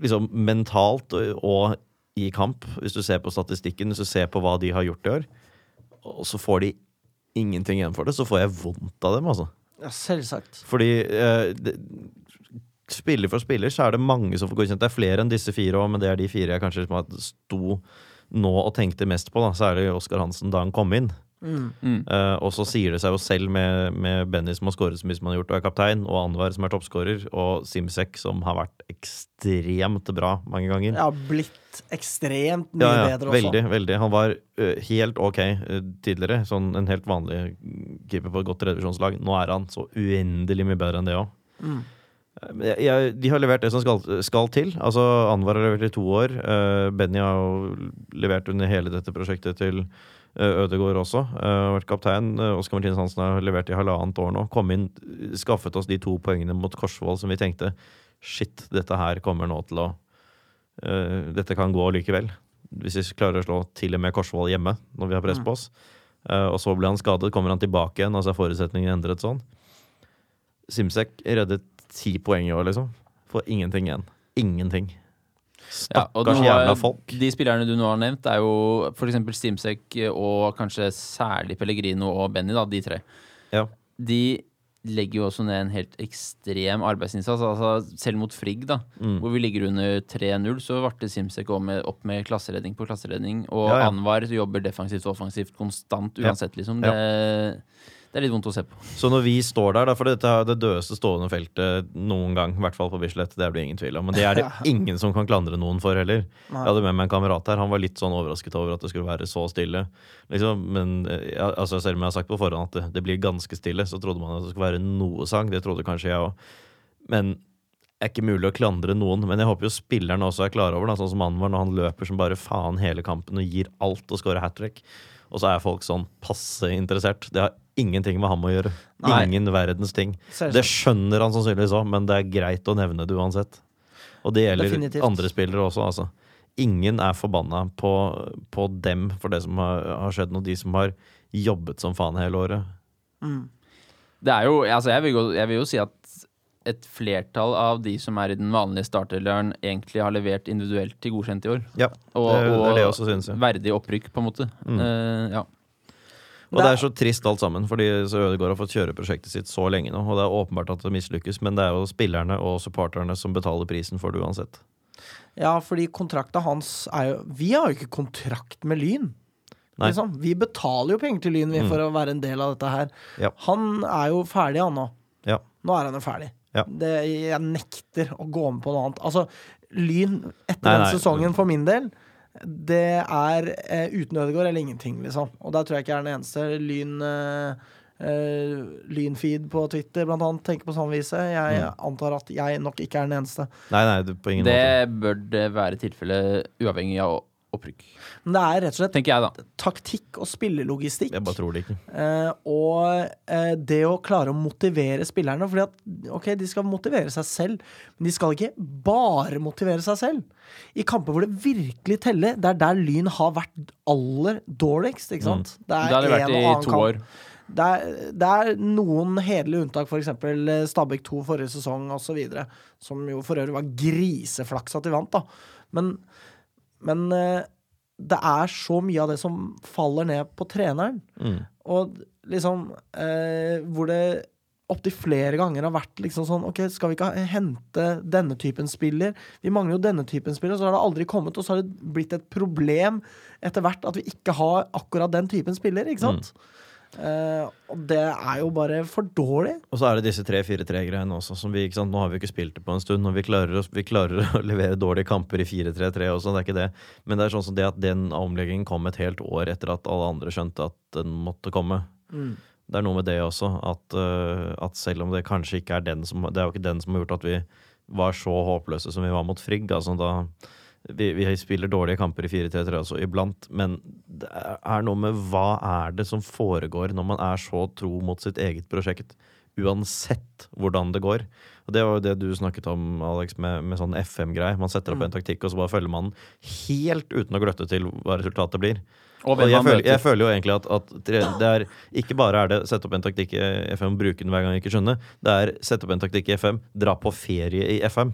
S2: liksom mentalt og, og i kamp, hvis du ser på statistikken, hvis du ser på hva de har gjort i år, og så får de ingenting igjen for det, så får jeg vondt av dem, altså.
S1: Ja, selvsagt.
S2: Fordi eh, det, spiller for spiller så er det mange som får godkjent. Det er flere enn disse fire òg, men det er de fire jeg kanskje liksom har- sto nå og tenkte mest på, da. Særlig Oskar Hansen da han kom inn. Eh, og så sier det seg jo selv med, med Benny som har skåret så mye som han har gjort, og er kaptein, og Anwar som er toppskårer, og Simsek som har vært ekstremt bra mange ganger.
S1: Jeg har blitt ekstremt mye
S2: Ja, ja,
S1: bedre også.
S2: veldig, veldig. Han var ø, helt ok ø, tidligere. Sånn en helt vanlig keeper på et godt reduksjonslag. Nå er han så uendelig mye bedre enn det Eh, òg.
S1: Mm.
S2: De har levert det som skal, skal til. Altså, Anwar har levert i to år. Eh, Benny har jo levert under hele dette prosjektet til eh, Ødegaard også. Uh, vært kaptein. Uh, Oskar Martinus Hansen har levert i halvannet år nå. Kom inn, skaffet oss de to poengene mot Korsvoll som vi tenkte Shit, dette her kommer nå til å eh, Dette kan gå likevel. Hvis vi klarer å slå til og med Korsvoll hjemme når vi har
S3: Mm.
S2: press på oss. Eh, og så ble han skadet, kommer han tilbake igjen, altså er forutsetningene endret sånn. Simsek reddet ti poeng i år, liksom. For ingenting igjen. Ingenting.
S3: Ja, og
S2: Stakkars
S3: nå har-
S2: jævla folk.
S3: De spillerne du nå har nevnt, er jo f.eks. Stimsek og kanskje særlig Pellegrino og Benny, da, de tre.
S2: Ja.
S3: De legger jo også ned en helt ekstrem arbeidsinnsats. Altså, selv mot Frigg, da,
S2: Mm.
S3: hvor vi ligger under 3-0, så varte Simsek opp med, opp med klasseredning på klasseredning. Og
S2: Ja, ja.
S3: Anwar jobber defensivt og offensivt konstant
S2: Ja.
S3: uansett, liksom. Det, det er litt vondt å se på.
S2: Så når vi står der, da, for dette er det dødeste stående feltet noen gang, i hvert fall på Bislett, det er det ingen tvil om, men det er det ingen som kan klandre noen for heller. Jeg hadde med meg en kamerat her, han var litt sånn overrasket over at det skulle være så stille. Liksom. Men eh, ja, altså, selv om jeg har sagt på forhånd at det, det blir ganske stille, så trodde man at det skulle være noe sang, det trodde kanskje jeg òg. Men det er ikke mulig å klandre noen, men jeg håper jo spillerne også er klar over det. Sånn som han var når han løper som bare faen hele kampen og gir alt og scorer hat trick. Og så er folk sånn passe interessert. Det har ingenting med ham å gjøre.
S3: Nei.
S2: Ingen verdens ting.
S1: Selvsagt.
S2: Det skjønner han sannsynligvis òg, men det er greit å nevne det uansett. Og det gjelder
S1: Definitivt.
S2: andre spillere også, altså. Ingen er forbanna på, på dem for det som har, har skjedd, og de som har jobbet som faen hele året.
S3: Det er jo, altså jeg, vil gå, jeg vil jo si at et flertall av de som er i den vanlige starterløren, egentlig har levert individuelt til godkjent i år.
S2: Ja,
S3: Og,
S2: det, det er det jeg Mm.
S3: og
S2: også synes. Ja.
S3: verdig opprykk, på en måte. Eh, ja.
S2: Og det er så trist alt sammen, fordi så Ødegaard har fått kjøre prosjektet sitt så lenge nå. Og det er åpenbart at det mislykkes, men det er jo spillerne og supporterne som betaler prisen for det uansett.
S1: Ja, fordi kontrakta hans er jo Vi har jo ikke kontrakt med Lyn.
S2: Nei. Mm.
S1: Liksom. Vi betaler jo penger til Lyn vi, for å være en del av dette her.
S2: Ja.
S1: Han er jo ferdig, han nå.
S2: Ja.
S1: Nå er han jo ferdig.
S2: Ja.
S1: Det, jeg nekter å gå med på noe annet. Altså, Lyn etter
S2: Nei,
S1: den
S2: nei.
S1: sesongen, for min del, det er eh, uten Ødegaard eller ingenting, liksom. Og der tror jeg ikke jeg er den eneste. Lyn eh, eh, Lynfeed på Twitter, blant annet, tenker på samme viset. Jeg
S2: Mm.
S1: antar at jeg nok ikke er den eneste.
S2: Nei, nei, det- på ingen måte.
S3: Det bør det være tilfellet uavhengig av opprykk,
S1: Men det er rett og slett
S3: tenker jeg, da.
S1: taktikk og spillelogistikk.
S2: Jeg bare tror det ikke.
S1: Eh, og eh, det å klare å motivere spillerne. Fordi at ok, de skal motivere seg selv, men de skal ikke bare motivere seg selv. I kamper hvor det virkelig teller, det er der Lyn har vært aller dårligst. Ikke sant? Det
S3: Det Mm. har
S1: en
S3: det vært
S1: og
S3: i
S1: annen
S3: to
S1: kamp.
S3: år.
S1: Det er, det er noen hederlige unntak, f.eks. Stabæk 2 forrige sesong osv., som jo for øvrig var griseflaks at de vant, da. Men, men eh, det er så mye av det som faller ned på treneren. Og liksom eh, Hvor det opptil flere ganger har vært liksom sånn OK, skal vi ikke ha- hente denne typen spiller? Vi mangler jo denne typen spiller. Så har det aldri kommet, og så har det blitt et problem etter hvert at vi ikke har akkurat den typen spiller, ikke sant?
S2: Mm.
S1: Eh, og det er jo bare for dårlig.
S2: Og så er det disse 3-4-3-greiene også. Som vi, ikke sant? Nå har vi jo ikke spilt det på en stund, og vi klarer, å- vi klarer å <laughs> levere dårlige kamper i 4-3-3 også, det er ikke det. Men det er sånn som det at den omleggingen kom et helt år etter at alle andre skjønte at den måtte komme. Det er noe med det også, at, eh, at selv om det kanskje ikke er den som Det er jo ikke den som har gjort at vi var så håpløse som vi var mot Frigg. Altså da vi, vi spiller dårlige kamper i 4-3-3 også iblant, men det er noe med hva er det som foregår når man er så tro mot sitt eget prosjekt, uansett hvordan det går. Og Det var jo det du snakket om, Alex, med, med sånn FM-greie. Man setter opp en taktikk, og så bare følger man den helt uten å gløtte til hva resultatet blir.
S3: Og
S2: Og
S3: hvem
S2: jeg,
S3: han
S2: føler,
S3: møter.
S2: jeg føler jo egentlig at, at tre, det er ikke bare er det sette opp en taktikk i FM, bruke den hver gang jeg ikke skjønner. Det er sette opp en taktikk i FM, dra på ferie i FM.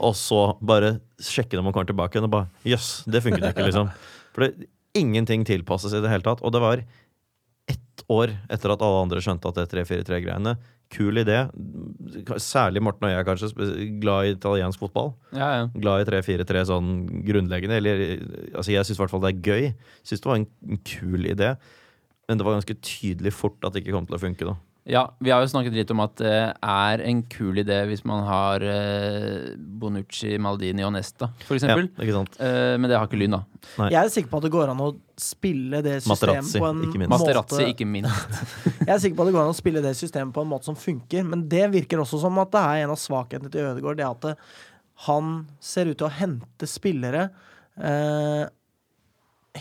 S2: Og så bare sjekke når man kommer tilbake igjen, og bare Jøss, det funket ikke, liksom. For det, ingenting tilpasses i det hele tatt. Og det var ett år etter at alle andre skjønte at det er 3-4-3-greiene. Kul idé. Særlig Morten og jeg, kanskje, spe- glad i italiensk fotball
S3: Ja, ja.
S2: glad i 3-4-3 sånn grunnleggende. Eller, altså jeg syns i hvert fall det er gøy. Syns det var en, en kul idé. Men det var ganske tydelig fort at det ikke kom til å funke. da.
S3: Ja, vi har jo snakket litt om at det er en kul idé hvis man har eh, Bonucci, Maldini og Nesta,
S2: Ja,
S3: for eksempel.
S2: ikke sant?
S3: Eh, men det har ikke Lyn, da.
S2: Nei.
S1: Jeg er sikker på at det går an å spille det systemet
S2: Materazzi,
S1: på en
S2: ikke minst.
S3: Masterazzi,
S1: måte
S3: ikke minst.
S1: Jeg er sikker på at det går an å spille det systemet på en måte som funker, men det virker også som at det er en av svakhetene til Ødegaard, det at det, han ser ut til å hente spillere eh,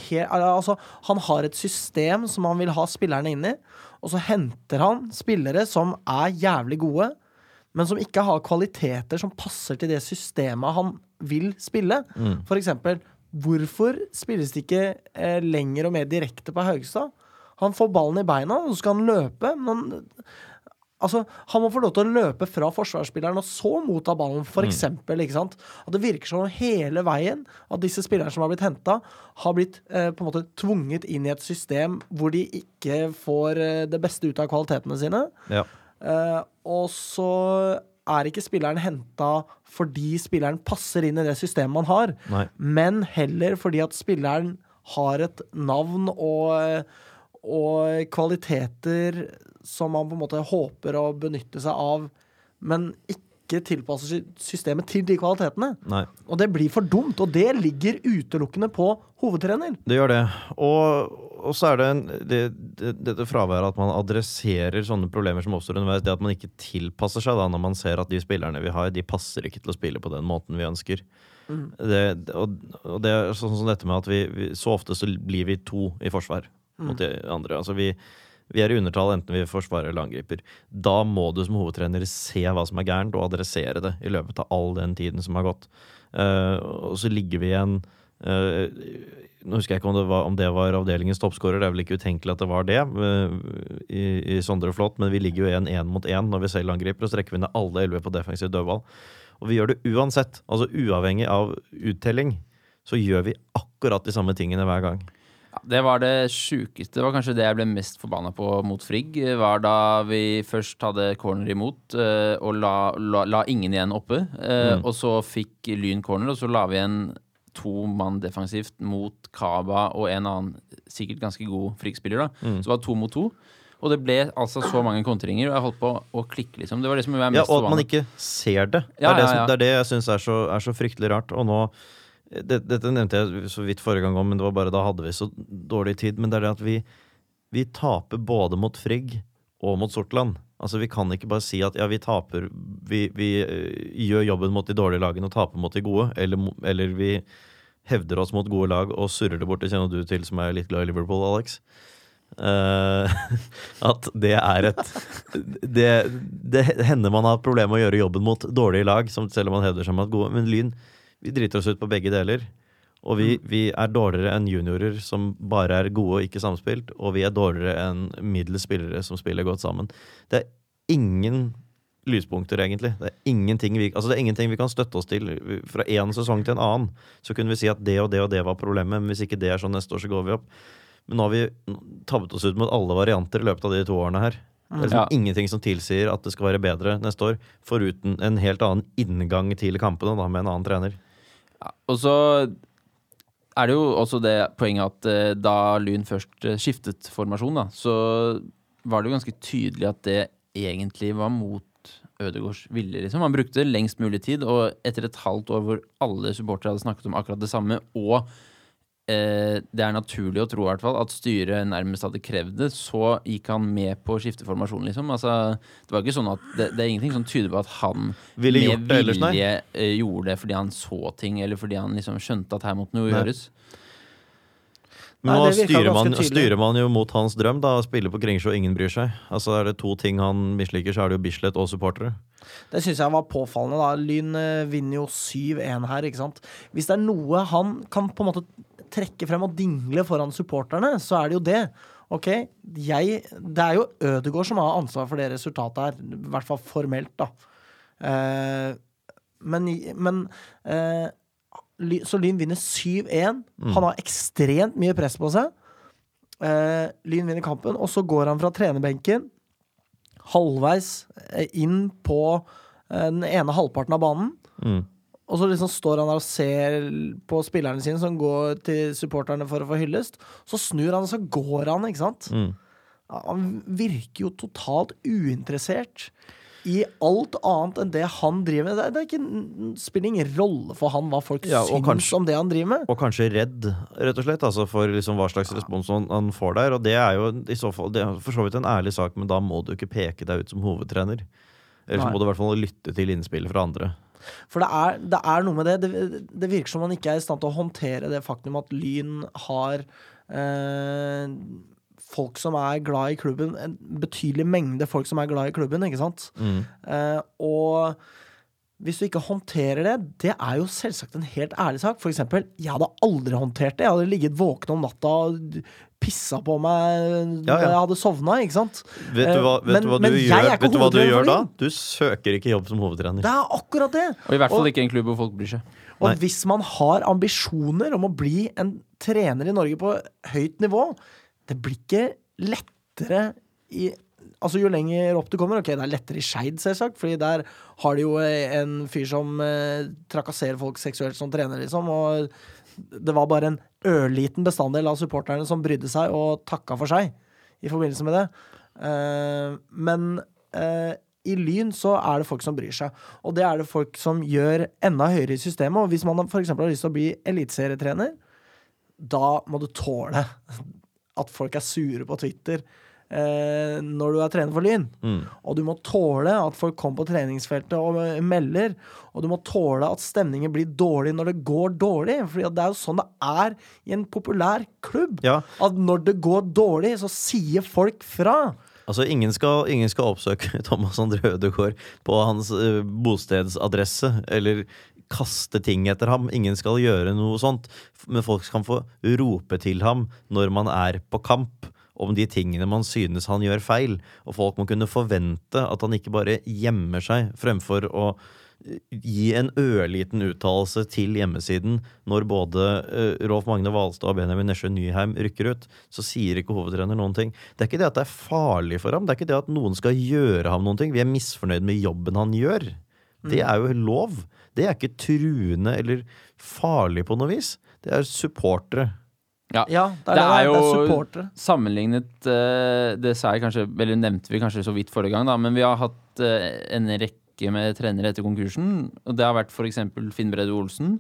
S1: he- al- Altså, han har et system som han vil ha spillerne inn i, og så henter han spillere som er jævlig gode, men som ikke har kvaliteter som passer til det systemet han vil spille. For eksempel, hvorfor spilles det ikke eh, lenger og mer direkte på Haugstad? Han får ballen i beina, og så skal han løpe. Men han- Altså, han må få lov til å løpe fra forsvarsspilleren og så motta ballen, for eksempel. Ikke sant? At det virker som om hele veien at disse spillerne som har blitt henta, har blitt eh, på en måte tvunget inn i et system hvor de ikke får eh, det beste ut av kvalitetene sine.
S2: Ja.
S1: Eh, og så er ikke spilleren henta fordi spilleren passer inn i det systemet man har,
S2: Nei.
S1: men heller fordi at spilleren har et navn og, og kvaliteter som man på en måte håper å benytte seg av, men ikke tilpasser sy- systemet til de kvalitetene.
S2: Nei.
S1: Og det blir for dumt, og det ligger utelukkende på hovedtrener.
S2: Det gjør det. Og, og så er det, en, det, det dette fraværet at man adresserer sånne problemer som oppstår underveis. Det at man ikke tilpasser seg da når man ser at de spillerne vi har, de passer ikke til å spille på den måten vi ønsker. Det, og, og det er sånn som dette med at vi, vi så ofte så blir vi to i forsvar mot de andre. Altså vi, vi er i undertall enten vi forsvarer eller angriper. Da må du som hovedtrener se hva som er gærent, og adressere det i løpet av all den tiden som har gått. Eh, og så ligger vi igjen eh, Nå husker jeg ikke om det var, om det var avdelingens toppskårer, det er vel ikke utenkelig at det var det eh, i, i Sondre Flått, men vi ligger jo igjen én mot én når vi selv angriper, og så rekker vi ned alle elleve på defensiv dødball. Og vi gjør det uansett, altså uavhengig av uttelling, så gjør vi akkurat de samme tingene hver gang.
S3: Ja, Det var det sjukeste. Det var kanskje det jeg ble mest forbanna på mot Frigg. eh, Var da vi først hadde corner imot eh, og la, la, la ingen igjen oppe. eh,
S2: Mm.
S3: Og så fikk Lyn corner, og så la vi igjen to mann defensivt mot Kaba og en annen sikkert ganske god Frigg-spiller. da.
S2: Mm.
S3: Så det var to mot to. Og det ble altså så mange kontringer, og jeg holdt på å klikke, liksom. Det var det som jeg var
S2: Ja,
S3: mest
S2: og at man
S3: forbanna
S2: ikke ser det. Det
S3: Ja,
S2: er det,
S3: ja,
S2: som,
S3: ja.
S2: det, er det jeg syns er, så- er så fryktelig rart. Og nå det, Dette nevnte jeg så vidt forrige gang òg, men det var bare da hadde vi så dårlig tid. Men det er det at vi, vi taper både mot Frigg og mot Sortland. Altså Vi kan ikke bare si at ja, vi taper Vi, vi øh, gjør jobben mot de dårlige lagene og taper mot de gode. Eller, mo- eller vi hevder oss mot gode lag og surrer det bort. Det kjenner du til, som er litt glad i Liverpool, Alex. Eh, <laughs> at det er et det, det hender man har problemer med å gjøre jobben mot dårlige lag, som selv om man hevder seg med at gode Men Lyn, vi driter oss ut på begge deler. Og vi, vi er dårligere enn juniorer som bare er gode og ikke samspilt. Og vi er dårligere enn middels spillere som spiller godt sammen. Det er ingen lyspunkter, egentlig. Det er ingenting vi, altså det er ingenting vi kan støtte oss til. Fra én sesong til en annen så kunne vi si at det og det og det var problemet, men hvis ikke det er sånn neste år, så går vi opp. Men nå har vi tabbet oss ut mot alle varianter i løpet av de to årene her. Det er liksom
S3: Ja.
S2: ingenting som tilsier at det skal være bedre neste år, foruten en helt annen inngang til kampene da, med en annen trener.
S3: Og så er det jo også det poenget at eh, da Lyn først eh, skiftet formasjon, da, så var det jo ganske tydelig at det egentlig var mot Ødegårds vilje, liksom. Han brukte lengst mulig tid, og etter et halvt år hvor alle supportere hadde snakket om akkurat det samme, og eh, det er naturlig å tro i hvert fall at styret nærmest hadde krevd det, så gikk han med på å skifte formasjon, liksom. Altså, det var ikke sånn at det, det er ingenting som tyder på at han
S2: Ville
S3: med
S2: gjort det ellers, nei.
S3: vilje eh, gjorde det fordi han så ting, eller fordi han liksom skjønte at her måtte noe
S2: Nei.
S3: gjøres.
S2: Men
S1: Nei,
S2: nå
S1: det virka
S2: styrer man,
S1: ganske tydelig.
S2: styrer man jo mot hans drøm, da. Spiller på Kringsjå, ingen bryr seg. Altså Er det to ting han misliker, så er det jo Bislett og supportere.
S1: Det syns jeg var påfallende. da Lyn eh, vinner jo 7-1 her, ikke sant. Hvis det er noe han kan på en måte trekke frem og dingle foran supporterne, så er det jo det. Ok, jeg, Det er jo Ødegaard som har ansvar for det resultatet her, i hvert fall formelt, da. Eh, men men eh, Ly- Så Lyn vinner 7-1. Han har ekstremt mye press på seg. Eh, Lyn vinner kampen, og så går han fra trenerbenken halvveis eh, inn på eh, den ene halvparten av banen.
S2: Mm.
S1: Og så liksom står han der og ser på spillerne sine som går til supporterne for å få hyllest. Så snur han, og så går han, ikke sant?
S2: Mm.
S1: Ja, Han virker jo totalt uinteressert i alt annet enn det han driver med. Det, er- det er ikke, spiller ingen rolle for han hva folk
S2: Ja, og
S1: syns
S2: kanskje-
S1: om det han driver med.
S2: Og kanskje redd, rett og slett, altså for liksom hva slags respons han- han får der. Og det er jo i så fall, det er for så vidt en ærlig sak, men da må du ikke peke deg ut som hovedtrener. Eller så
S1: Nei.
S2: må du i hvert fall lytte til innspill fra andre.
S1: For det er, det er noe med det. det. Det virker som man ikke er i stand til å håndtere det faktum at Lyn har eh, folk som er glad i klubben, en betydelig mengde folk som er glad i klubben, ikke sant?
S2: Mm.
S1: Eh, og hvis du ikke håndterer det, det er jo selvsagt en helt ærlig sak. For eksempel, jeg hadde aldri håndtert det. Jeg hadde ligget våken om natta og pissa på meg når
S2: Ja, ja.
S1: jeg hadde sovna, ikke sant?
S2: Vet du hva,
S1: Eh,
S2: vet
S1: men-
S2: du hva
S1: men
S2: du
S1: jeg
S2: gjør,
S1: er ikke
S2: vet du hva du
S1: hovedtrener for
S2: gjør da?
S1: min.
S2: Du søker ikke jobb som hovedtrener.
S1: Det er akkurat det!
S3: Og i hvert fall ikke en klubb hvor folk bryr seg.
S1: Og
S2: Nei.
S1: hvis man har ambisjoner om å bli en trener i Norge på høyt nivå, det blir ikke lettere i Altså Jo lenger opp du kommer Ok, det er lettere i Skeid, selvsagt, Fordi der har de jo eh, en fyr som eh, trakasserer folk seksuelt som trener, liksom. Og det var bare en ørliten bestanddel av supporterne som brydde seg og takka for seg i forbindelse med det. Eh, men eh, i Lyn så er det folk som bryr seg. Og det er det folk som gjør enda høyere i systemet. Og hvis man f.eks. har lyst til å bli eliteserietrener, da må du tåle at folk er sure på Twitter eh, når du er trener for Lyn. Og du må tåle at folk kommer på treningsfeltet og eh, melder. Og du må tåle at stemningen blir dårlig når det går dårlig. For det er jo sånn det er i en populær klubb.
S2: Ja.
S1: At når det går dårlig, så sier folk fra.
S2: Altså, ingen skal, ingen skal oppsøke <laughs> Thomas André Ødegaard på hans eh, bostedsadresse eller kaste ting etter ham. Ingen skal gjøre noe sånt. F- Men folk kan få rope til ham når man er på kamp. Om de tingene man synes han gjør feil. Og folk må kunne forvente at han ikke bare gjemmer seg, fremfor å eh, gi en ørliten uttalelse til hjemmesiden når både eh, Rolf Magne Hvalstad og Benjamin Nesjø Nyheim rykker ut, så sier ikke hovedtrener noen ting. Det er ikke det at det er farlig for ham, det er ikke det at noen skal gjøre ham noen ting. Vi er misfornøyd med jobben han gjør. Det er jo lov. Det er ikke truende eller farlig på noe vis. Det er supportere.
S1: Ja, det er, det er, det er supportere.
S3: sammenlignet eh, Det sa jeg kanskje, eller nevnte vi kanskje så vidt forrige gang, da, men vi har hatt eh, en rekke med trenere etter konkursen. og Det har vært f.eks. Finn Brede Olsen,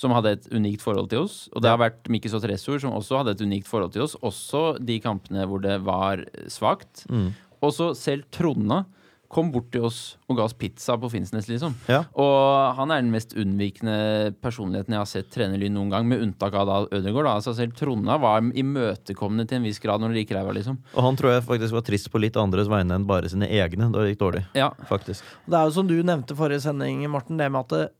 S3: som hadde et unikt forhold til oss. Og det har vært Mikkel Sotressor, som også hadde et unikt forhold til oss. Også de kampene hvor det var svakt.
S2: Mm.
S3: Og så selv Tronna kom bort til oss og ga oss pizza på Finnsnes, liksom.
S2: Ja.
S3: Og han er den mest unnvikende personligheten jeg har sett trene Lyn noen gang, med unntak av da Ødegaard. Da. Altså selv Tronna var imøtekommende til en viss grad når det gikk ræva, liksom.
S2: Og han tror jeg faktisk var trist på litt andres vegne enn bare sine egne. Da det gikk dårlig,
S3: Ja.
S2: faktisk.
S1: Det er jo som du nevnte forrige sending, Morten, det med at det,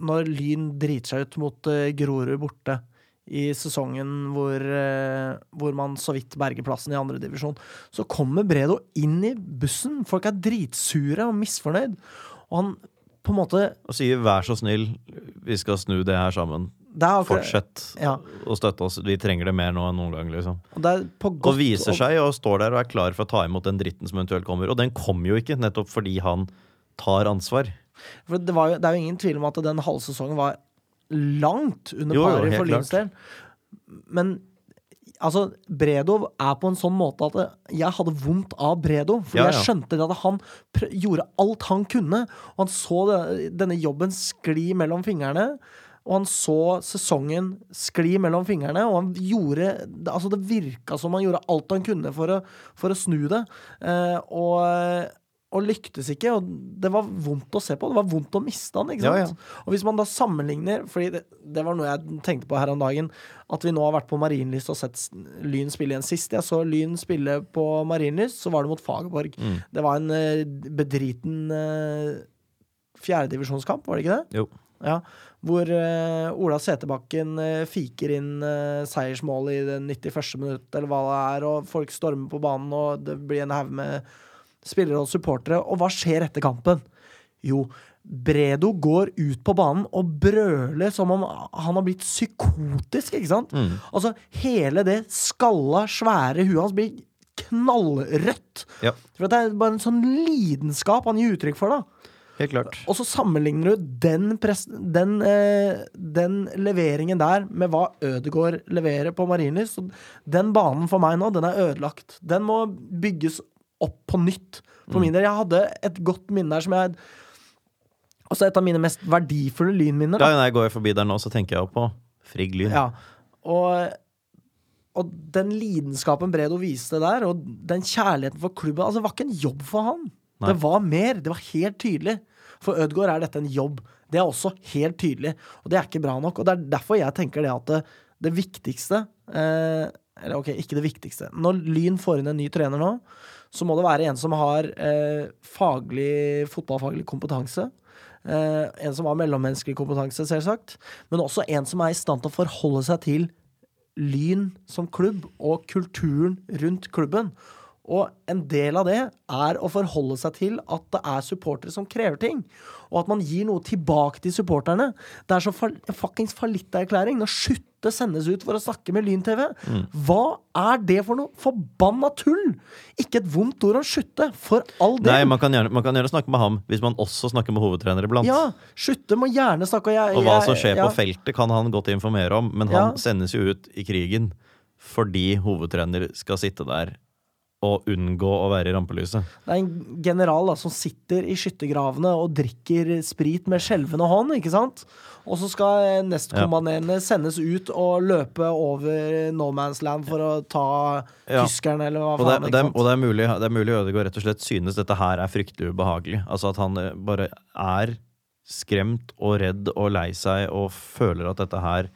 S1: når Lyn driter seg ut mot eh, Grorud borte i sesongen hvor, eh, hvor man så vidt berger plassen i andredivisjon, så kommer Bredo inn i bussen. Folk er dritsure og misfornøyd. Og han på en måte
S2: Og sier 'vær så snill, vi skal snu det her sammen'.
S1: det er akkurat-
S2: Fortsett
S1: Ja.
S2: å støtte oss. Vi trenger det mer nå enn noen gang. liksom
S1: Og det er på godt
S2: Og viser seg og står der og er klar for å ta imot den dritten som eventuelt kommer. Og den kommer jo ikke, nettopp fordi han tar ansvar.
S1: For det, var jo, det er jo ingen tvil om at den halvsesongen var langt under
S2: Jo, jo,
S1: paret
S2: helt
S1: for Lyns del.
S2: klart.
S1: Men altså, Bredo er på en sånn måte at det- jeg hadde vondt av Bredo. Fordi
S2: Ja, ja.
S1: jeg skjønte det at han pr gjorde alt han kunne. Og han så det, denne jobben skli mellom fingrene. Og han så sesongen skli mellom fingrene, og han gjorde det- Altså, det virka som han gjorde alt han kunne for å, for å snu det. Eh, og og lyktes ikke, og det var vondt å se på. Det var vondt å miste han, ikke sant?
S2: Ja,
S1: Og hvis man da sammenligner, fordi det, det var noe jeg tenkte på her om dagen, at vi nå har vært på Marienlyst og sett s- Lyn spille igjen. Sist jeg så Lyn spille på Marienlyst, så var det mot Fagerborg. Det var en eh, bedriten eh, fjerdedivisjonskamp, var det ikke det?
S2: Jo.
S1: Ja, hvor eh, Ola Seterbakken eh, fiker inn eh, seiersmålet i det 91. minutt, eller hva det er, og folk stormer på banen, og det blir en haug med spillere og supportere. Og hva skjer etter kampen? Jo, Bredo går ut på banen og brøler som om han har blitt psykotisk, ikke sant? Altså, hele det skalla, svære huet hans blir knallrødt.
S2: Ja,
S1: For det er bare en sånn lidenskap han gir uttrykk for, da.
S2: helt klart.
S1: Og så sammenligner du den, pres den, eh, den leveringen der med hva Ødegaard leverer på Marienlyst. Så Den banen for meg nå, den er ødelagt. Den må bygges opp på nytt. For min del, jeg hadde et godt minne her som jeg Altså et av mine mest verdifulle lynminner.
S2: Ja,
S1: Da.
S2: nei, går jeg forbi der nå, så tenker jeg jo på Frigg Lyn.
S1: Ja. Og, og den lidenskapen Bredo viste der, og den kjærligheten for klubben Altså, det var ikke en jobb for han.
S2: Nei.
S1: Det var mer. Det var helt tydelig. For Ødgaard er dette en jobb. Det er også helt tydelig. Og det er ikke bra nok. Og det er derfor jeg tenker det at det, det viktigste eh, Eller ok, ikke det viktigste. Når Lyn får inn en ny trener nå, så må det være en som har eh, faglig, fotballfaglig kompetanse. Eh, en som har mellommenneskelig kompetanse, selvsagt. Men også en som er i stand til å forholde seg til Lyn som klubb og kulturen rundt klubben. Og en del av det er å forholde seg til at det er supportere som krever ting. Og at man gir noe tilbake til supporterne. Det er så fa fuckings fallitterklæring når Skutte sendes ut for å snakke med Lyn-TV.
S2: Mm.
S1: Hva er det for noe forbanna tull?! Ikke et vondt ord om Skutte, for all del.
S2: Nei, man kan, gjerne, man kan gjerne snakke med ham hvis man også snakker med hovedtrener iblant.
S1: ja, Skutte må gjerne snakke, og jeg
S2: Og hva
S1: jeg-
S2: som skjer
S1: ja.
S2: på feltet, kan han godt informere om, men
S1: Ja.
S2: han sendes jo ut i krigen fordi hovedtrener skal sitte der og unngå å være i rampelyset.
S1: Det er en general da, som sitter i skyttergravene og drikker sprit med skjelvende hånd, ikke sant? Og så skal nestkommanderende sendes ut og løpe over no man's land for å ta
S2: Ja.
S1: tyskerne, eller hva
S2: Og, det,
S1: faen.
S2: er-
S1: ikke
S2: det, er-
S1: sant?
S2: og det er mulig, det er mulig Ødegaard rett og slett synes dette her er fryktelig ubehagelig. Altså at han eh, bare er skremt og redd og lei seg og føler at dette her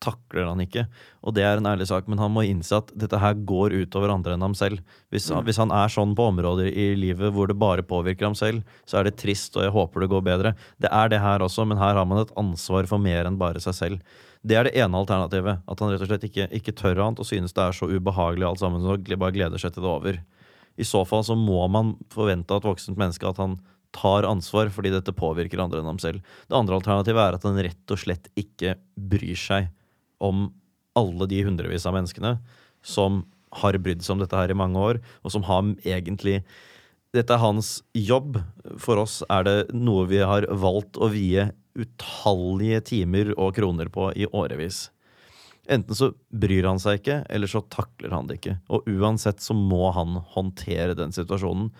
S2: takler han ikke. Og det er en ærlig sak, men han må innse at dette her går utover andre enn ham selv. Hvis
S1: Mm.
S2: han, hvis han er sånn på områder i livet hvor det bare påvirker ham selv, så er det trist, og jeg håper det går bedre. Det er det her også, men her har man et ansvar for mer enn bare seg selv. Det er det ene alternativet. At han rett og slett ikke, ikke tør annet og synes det er så ubehagelig alt sammen, så han bare gleder seg til det er over. I så fall så må man forvente av et voksent menneske at han tar ansvar, fordi dette påvirker andre enn ham selv. Det andre alternativet er at han rett og slett ikke bryr seg om alle de hundrevis av menneskene som har brydd seg om dette her i mange år, og som har egentlig dette er hans jobb. For oss er det noe vi har valgt å vie utallige timer og kroner på i årevis. Enten så bryr han seg ikke, eller så takler han det ikke. Og uansett så må han håndtere den situasjonen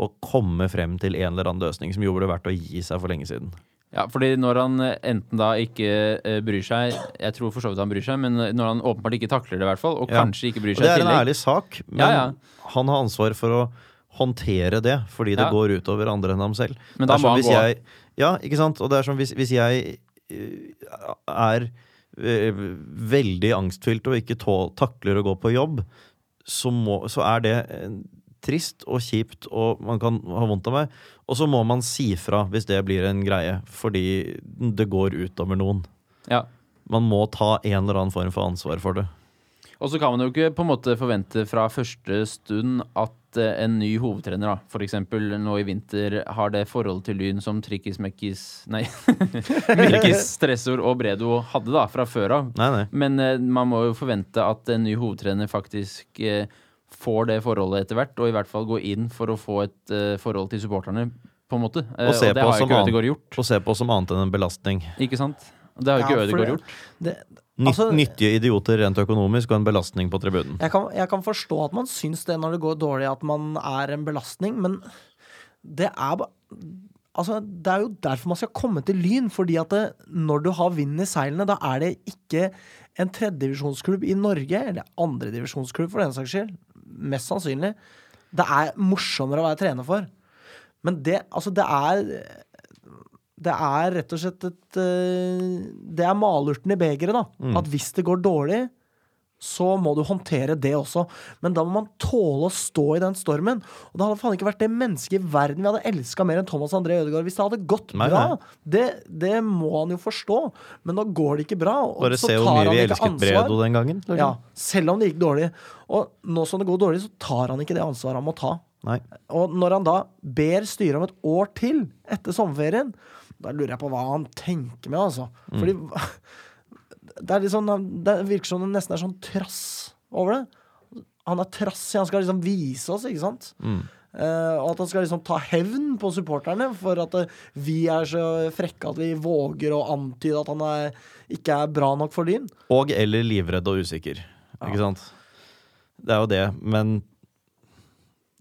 S2: og komme frem til en eller annen løsning som gjorde det verdt å gi seg for lenge siden.
S3: Ja, fordi når han eh, enten da ikke eh, bryr seg Jeg tror for så vidt han bryr seg, men når han åpenbart ikke takler det, i hvert fall, og
S2: Ja.
S3: kanskje ikke bryr
S2: Og det
S3: seg i
S2: er en
S3: tillegg
S2: ærlig sak, men
S3: Ja, ja.
S2: han har ansvar for å håndtere det, fordi det
S3: Ja.
S2: går utover andre enn ham selv.
S3: Men da
S2: Det er
S3: må
S2: som
S3: han gå.
S2: hvis Jeg, ja, ikke sant? Og det er som hvis, hvis jeg eh, er eh, veldig angstfylt og ikke tå, takler å gå på jobb, så, må, så er det eh, trist og kjipt, og man kan ha vondt av meg. Og så må man si fra hvis det blir en greie, fordi det går utover noen.
S3: Ja.
S2: Man må ta en eller annen form for ansvar for det.
S3: Og så kan man jo ikke på en måte forvente fra første stund at eh, en ny hovedtrener, da, for eksempel nå i vinter, har det forholdet til Lyn som Trikkis Mekkis Nei, <laughs> Myrkis, Stressor og Bredo hadde da fra før av.
S2: Nei, nei.
S3: Men eh, man må jo forvente at en ny hovedtrener faktisk eh, får det forholdet etter hvert, og i hvert fall går inn for å få et eh, forhold til supporterne, på en måte. Eh,
S2: Og se
S3: og det
S2: på
S3: har
S2: som
S3: jo ikke
S2: annet.
S3: Ødegaard gjort,
S2: Og se på som annet enn en belastning.
S3: ikke sant? Det har jo ikke
S1: Ja, for
S3: Ødegaard
S1: det-
S3: gjort.
S1: Det,
S2: Nytt,
S1: Altså-
S2: nyttige idioter rent økonomisk og en belastning på tribunen.
S1: jeg, kan, jeg kan forstå at man syns det når det går dårlig, at man er en belastning, men det er bare Altså, det er jo derfor man skal komme til Lyn, fordi at det, når du har vinden i seilene, da er det ikke en tredjedivisjonsklubb i Norge, eller andredivisjonsklubb for den saks skyld, mest sannsynlig, det er morsommere å være trener for. Men det, altså, det er Det er rett og slett et eh, Det er malurten i begeret, da.
S2: Mm.
S1: At hvis det går dårlig, så må du håndtere det også. Men da må man tåle å stå i den stormen. Og det hadde faen ikke vært det mennesket i verden vi hadde elska mer enn Thomas André Ødegaard hvis det hadde gått
S2: Nei,
S1: bra.
S2: nei.
S1: Det, det må han jo forstå. Men nå går det ikke bra. Og
S2: Bare
S1: så
S2: se hvor
S1: tar
S2: mye
S1: han
S2: vi
S1: ikke
S2: elsket Bredo den gangen. liksom.
S1: Ja, selv om det gikk dårlig. Og nå som det går dårlig, så tar han ikke det ansvaret han må ta.
S2: Nei.
S1: Og når han da ber styret om et år til etter sommerferien, da lurer jeg på hva han tenker med, altså. Fordi det, er litt sånn- det virker som det nesten er sånn trass over det. Han er trassig. Han skal liksom vise oss, ikke sant? Eh, og at han skal liksom ta hevn på supporterne for at eh, vi er så frekke at vi våger å antyde at han er, ikke er bra nok for Lyn.
S2: Og eller livredd og usikker. Ikke sant? Det er jo det, men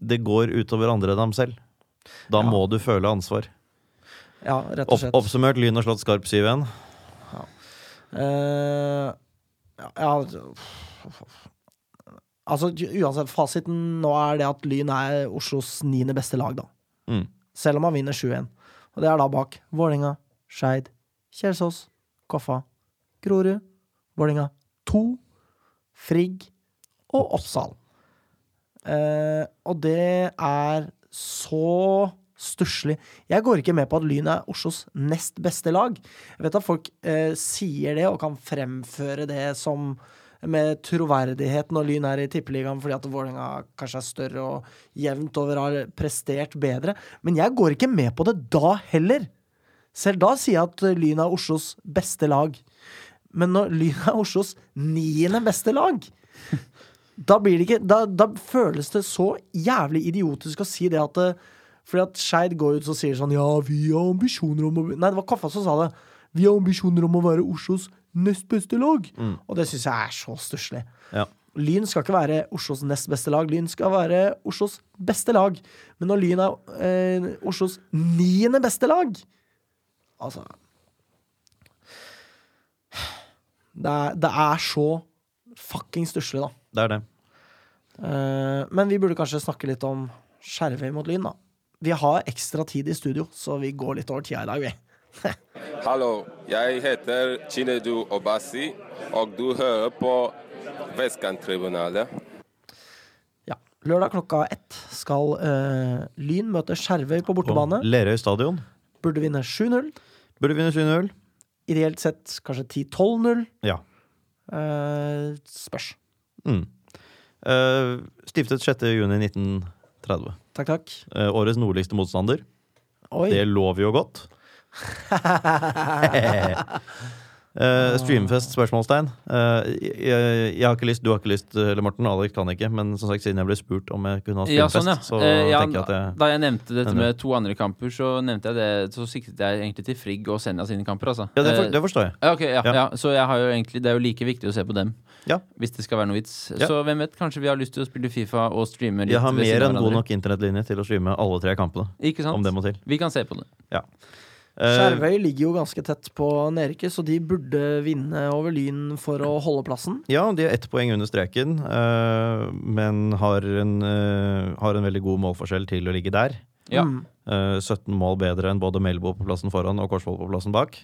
S2: det går utover andre enn ham selv. Da må du føle ansvar.
S1: Ja, rett og
S2: Opp,
S1: slett.
S2: oppsummert Lyn har slått Skarp 7-1.
S1: Eh, ja, ja Altså, uansett, fasiten nå er det at Lyn er Oslos niende beste lag, da.
S2: Mm.
S1: Selv om han vinner 7-1. Og det er da bak Vålerenga, Skeid, Kjelsås, Koffa, Grorud, Vålerenga 2, Frigg og Oppsal. Eh, og det er så stusslig. Jeg går ikke med på at Lyn er Oslos nest beste lag. Jeg vet at folk eh, sier det og kan fremføre det som med troverdighet når Lyn er i tippeligaen fordi at Vålerenga kanskje er større og jevnt over har prestert bedre. Men jeg går ikke med på det da heller. Selv da sier jeg at eh, Lyn er Oslos beste lag. Men når Lyn er Oslos niende beste lag, da blir det ikke da, da føles det så jævlig idiotisk å si det at det, Fordi at Skeid går ut og sier sånn Ja, vi har ambisjoner om å bli-" Nei, det var Koffa som sa det. Vi har ambisjoner om å være Oslos nest beste lag. Og det syns jeg er så stusslig.
S2: Ja.
S1: Lyn skal ikke være Oslos nest beste lag. Lyn skal være Oslos beste lag. Men når Lyn er eh, Oslos niende beste lag Altså Det er, det er så fuckings stusslig, da.
S2: Det er det.
S1: Eh, men vi burde kanskje snakke litt om Skjervøy mot Lyn, da. Vi har ekstra tid i studio, så vi går litt over tida i dag, vi.
S7: Hallo, jeg heter Chinedu Obasi, og du hører på Vestkanttribunalet.
S1: Ja. Lørdag klokka ett skal eh, Lyn møte Skjervøy på
S2: På
S1: bortebane.
S2: Lerøy stadion
S1: Burde vinne 7-0.
S2: burde vinne 7-0.
S1: Ideelt sett kanskje 10-12-0.
S2: Ja.
S1: Eh, spørs.
S2: Mm. Eh, stiftet 6.6.1930.
S1: Takk, takk.
S2: Uh, årets nordligste motstander.
S1: Oi.
S2: Det lover jo godt. Eh, streamfest? spørsmålstegn. Eh, jeg, jeg har ikke lyst, du har ikke lyst, eh, eller Morten. Alex kan ikke. Men som sagt, siden jeg ble spurt om jeg kunne ha
S3: Ja,
S2: streamfest,
S3: sånn, ja.
S2: så
S3: Eh, ja,
S2: tenker jeg at jeg
S3: Da jeg nevnte dette
S2: Enig.
S3: med to andre kamper, så, nevnte jeg det, så siktet jeg egentlig til Frigg og Senja sine kamper, altså.
S2: Ja, det,
S3: Eh,
S2: for, det forstår jeg.
S3: ja, ok, ja,
S2: Ja.
S3: ja. Så jeg har jo egentlig, det er jo like viktig å se på dem,
S2: Ja.
S3: hvis det skal være noe vits.
S2: Ja.
S3: Så hvem vet, kanskje vi har lyst til å spille Fifa og streame litt.
S2: Jeg har
S3: ved siden
S2: mer
S3: av
S2: enn god
S3: hverandre.
S2: nok internettlinje til å streame alle tre kampene.
S3: Ikke sant?
S2: Om det må til.
S3: Vi kan se på det.
S2: Eh,
S1: Skjervøy ligger jo ganske tett på nedrykket, så de burde vinne over Lyn for å holde plassen.
S2: Ja, de er ett poeng under streken, eh, men har en, eh, har en veldig god målforskjell til å ligge der.
S3: Ja.
S1: Mm.
S2: Eh, 17 mål bedre enn både Melbo på plassen foran og Korsvoll på plassen bak.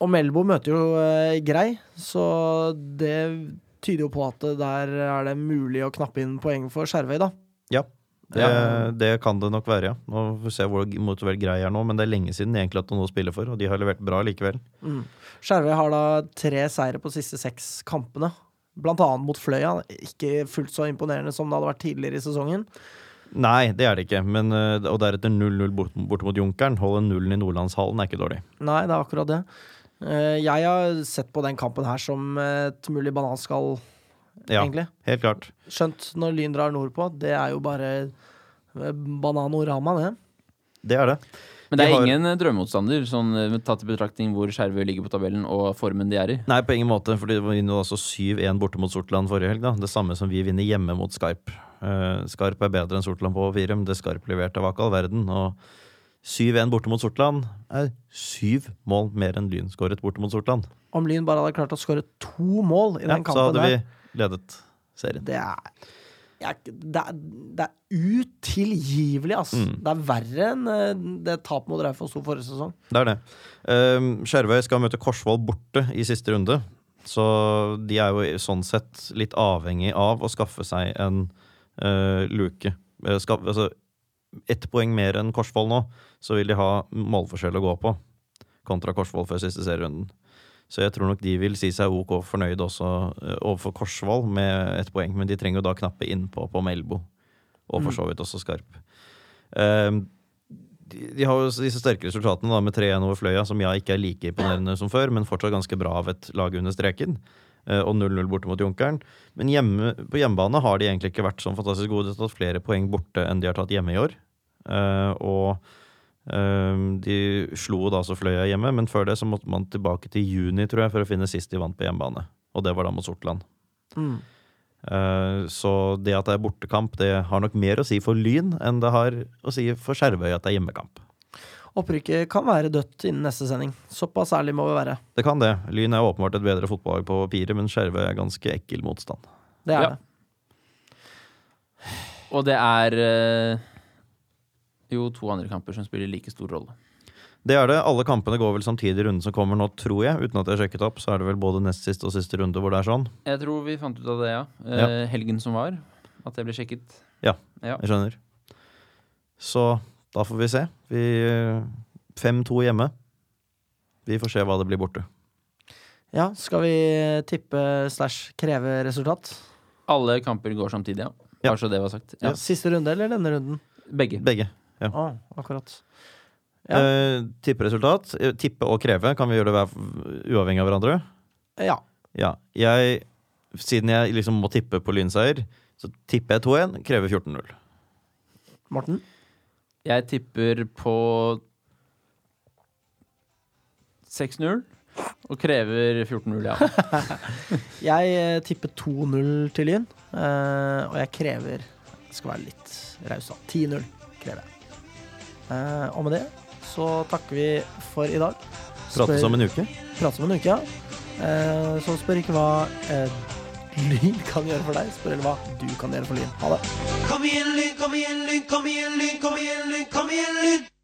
S1: Og Melbo møter jo eh, Grei, så det tyder jo på at det der er det mulig å knappe inn poeng for Skjervøy, da.
S2: Ja. Det,
S1: Ja.
S2: det kan det nok være, ja. Nå får vi se hvor motivert grei er nå, men det er lenge siden egentlig at noe spiller for, og de har levert bra likevel.
S1: Skjervøy har da tre seire på de siste seks kampene. Blant annet mot Fløya. Ikke fullt så imponerende som det hadde vært tidligere i sesongen.
S2: Nei, det er det ikke, men, eh, og deretter 0-0 bort, bort mot Junkeren. Holde nullen i Nordlandshallen er ikke dårlig.
S1: Nei, det er akkurat det. Eh, Jeg har sett på den kampen her som eh, et mulig bananskall,
S2: Ja,
S1: egentlig.
S2: helt klart.
S1: Skjønt når Lyn drar nordpå. Det er jo bare eh, bananorama, det.
S2: Det er det.
S3: Men det
S2: De
S3: er
S2: har-
S3: ingen eh, drømmemotstander, sånn eh, tatt i betraktning hvor Skjervøy ligger på tabellen og formen de er i.
S2: Nei, på ingen måte, for de vinner jo altså 7-1 borte mot Sortland forrige helg. da Det samme som vi vinner hjemme mot Skarp. Eh, Skarp er bedre enn Sortland på fire, men det Skarp leverte var ikke all verden. Og 7-1 borte mot Sortland er syv mål mer enn Lyn skåret borte mot Sortland.
S1: Om Lyn bare hadde klart å skåre to mål i
S2: Ja,
S1: den
S2: så
S1: kampen
S2: hadde
S1: der
S2: vi ledet serien.
S1: Det er, jeg, er ikke- det er, det er utilgivelig, ass.
S2: Mm.
S1: Det er verre enn eh, det tapet mot Raufoss sto forrige sesong.
S2: Det er det. Um, Skjervøy skal møte Korsvoll borte i siste runde. Så de er jo sånn sett litt avhengig av å skaffe seg en eh, luke. Eh, Skaff, altså, ett poeng mer enn Korsvoll nå, så vil de ha målforskjell å gå på kontra Korsvoll før siste serierunden. Så jeg tror nok de vil si seg OK fornøyd også eh, overfor Korsvoll med ett poeng, men de trenger jo da knappe innpå på Melbo, og
S1: Mm.
S2: for så vidt også Skarp. Um, de, de har jo disse sterke resultatene da, med 3-1 over Fløya, som ja ikke er like imponerende som før, men fortsatt ganske bra av et lag under streken. Eh, Og 0-0 borte mot Junkeren. Men hjemme, på hjemmebane har de egentlig ikke vært sånn fantastisk gode. De har tatt flere poeng borte enn de har tatt hjemme i år. Eh, og eh, de slo jo da så Fløya hjemme, men før det så måtte man tilbake til juni tror jeg, for å finne sist de vant på hjemmebane. Og det var da mot Sortland.
S1: Mm.
S2: Eh, Så det at det er bortekamp, det har nok mer å si for Lyn enn det har å si for Skjervøy at det er hjemmekamp.
S1: Opprykket kan være dødt innen neste sending. Såpass ærlig må vi være.
S2: Det kan det. Lyn er åpenbart et bedre fotballag på papiret, men Skjervøy er ganske ekkel motstand.
S1: Det er
S3: Ja.
S1: det.
S3: Og det er eh, jo to andre kamper som spiller like stor rolle.
S2: Det er det. Alle kampene går vel samtidig i runden som kommer nå, tror jeg. Uten at jeg har sjekket opp, så er det vel både nest siste og siste runde hvor det er sånn.
S3: Jeg tror vi fant ut av det, ja. Eh,
S2: Ja.
S3: Helgen som var. At det ble sjekket.
S2: Ja.
S3: Ja.
S2: Jeg skjønner. Så da får vi se. Vi eh, 5-2 hjemme. Vi får se hva det blir borte.
S1: Ja, skal vi tippe slash kreve resultat?
S3: Alle kamper går samtidig, ja.
S2: Ja.
S3: Bare så det var sagt. Ja.
S1: Siste runde eller denne runden?
S3: Begge.
S2: Begge.
S1: Å, akkurat. Ja.
S2: Eh, tipperesultat. eh, Tippe og kreve. Kan vi gjøre det hver, uavhengig av hverandre?
S1: Ja.
S2: Ja. Jeg, siden jeg liksom må tippe på lynseier, så tipper jeg 2-1. Krever 14-0.
S1: Morten?
S3: Jeg tipper på 6-0 og krever 14-0, ja.
S1: Jeg eh, tipper 2-0 til Lyn. eh, og jeg krever jeg Skal være litt raus, da. 10-0 krever jeg. Eh, og med det så takker vi for i dag.
S2: Prates om en uke.
S1: prates om en uke, ja. Eh, så spør ikke hva eh, Lyn kan gjøre for deg, spør heller hva du kan gjøre for Lyn. Ha det.
S5: Kom igjen, Lyn, kom igjen, Lyn, kom igjen, Lyn, kom igjen, Lyn, kom igjen, Lyn!